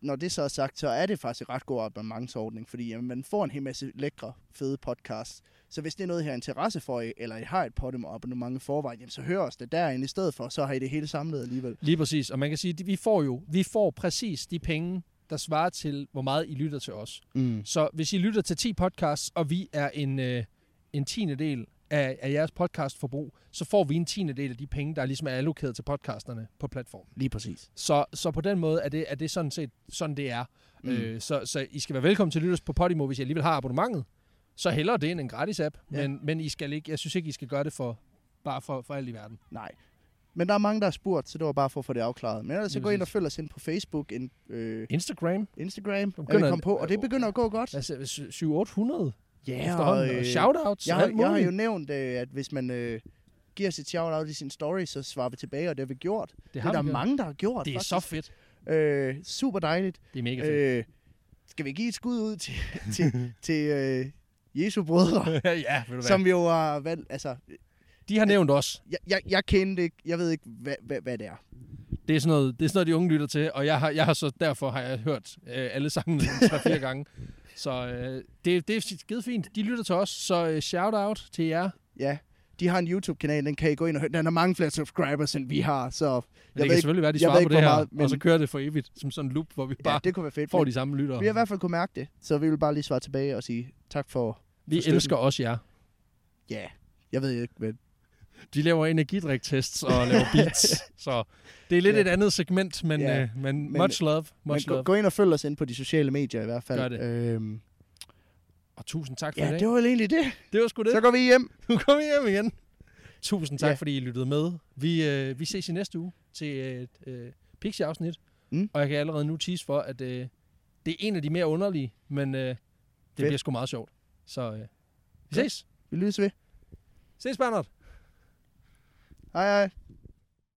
når det så er sagt, så er det faktisk en ret god abonnementsordning, fordi jamen, man får en hel masse lækre, fede podcasts. Så hvis det er noget, I har interesse for, eller I har et Podimo abonnement i forvejen, jamen, så hør os det derinde i stedet for, så har I det hele samlet alligevel. Lige præcis, og man kan sige, at vi får jo vi får præcis de penge, der svarer til, hvor meget I lytter til os. Mm. Så hvis I lytter til 10 podcasts, og vi er en, øh, en tiende del af, af jeres podcastforbrug, så får vi en tiende del af de penge, der ligesom er allokeret til podcasterne på platformen. Lige præcis. Så, så på den måde er det, er det sådan set sådan, det er. Mm. Mm. Øh, så, så I skal være velkommen til at lytte os på Podimo, hvis I alligevel har abonnementet. Så hellere det end en gratis app, ja. Ja. men, men I skal ikke, jeg synes ikke, I skal gøre det for bare for, for alt i verden. Nej. Men der er mange, der har spurgt, så det var bare for at få det afklaret. Men ellers så Lige gå ind og præcis. følg os ind på Facebook, ind, øh, Instagram, Instagram, er vi begynder- kommet på, og det begynder at gå godt. altså 7-800 Ja, og, efterhånden, og shoutouts jeg, og alt har, jeg har muligt. jo nævnt, øh, at hvis man øh, giver sit shout-out i sin story, så svarer vi tilbage, og det har vi gjort. Det, det er der vi gjort. mange, der har gjort. Det er så faktisk. fedt. Øh, super dejligt. Det er mega fedt. Øh, skal vi give et skud ud til, til, til øh, Jesu brødre, ja, ved du hvad. Som, Øh, som jo har valgt... Altså, de har nævnt os. jeg, jeg, jeg kendte ikke... Jeg ved ikke, hvad, hvad, hvad det er. Det er, sådan noget, det er sådan noget, de unge lytter til, og jeg har, jeg har så, derfor har jeg hørt øh, alle sangene 3-4 gange. Så øh, det, det er skide fint. De lytter til os, så øh, shout-out til jer. Ja, de har en YouTube-kanal, den kan I gå ind og høre. Den har mange flere subscribers, end vi har, så... Men det kan ved ikke, ikke- selvfølgelig være, de jeg svarer ved på ikke, det hvor her, meget, meget, men- men... og så kører det for evigt som sådan en loop, hvor vi bare Ja, ja, det kunne være fedt. får men de samme lyttere. Vi har i hvert fald kunne mærke det, så vi vil bare lige svare tilbage og sige tak for... Vi støtten. elsker også jer. Ja, jeg ved ikke, hvad... De laver energidriktests og laver beats, så det er lidt Ja. ja. et andet segment, men, Ja. ja. øh, men, Men- men much love, Men much gå, love. gå ind og følg os ind på de sociale medier i hvert fald. Gør det. Øhm, Og tusind tak for ja, i dag. det var vel egentlig det. det var sgu det. Så går vi hjem. Nu kommer vi hjem igen. Tusind tak, Ja. ja. fordi I lyttede med. Vi, øh, vi ses i næste uge til et øh, Pixie-afsnit. Mm. Og jeg kan allerede nu tease for, at øh, det er en af de mere underlige, men øh, det Fedt. bliver sgu meget sjovt. Så øh, vi Ja. ses. Vi lyttes ved. Ses, Bernard. Hej hej.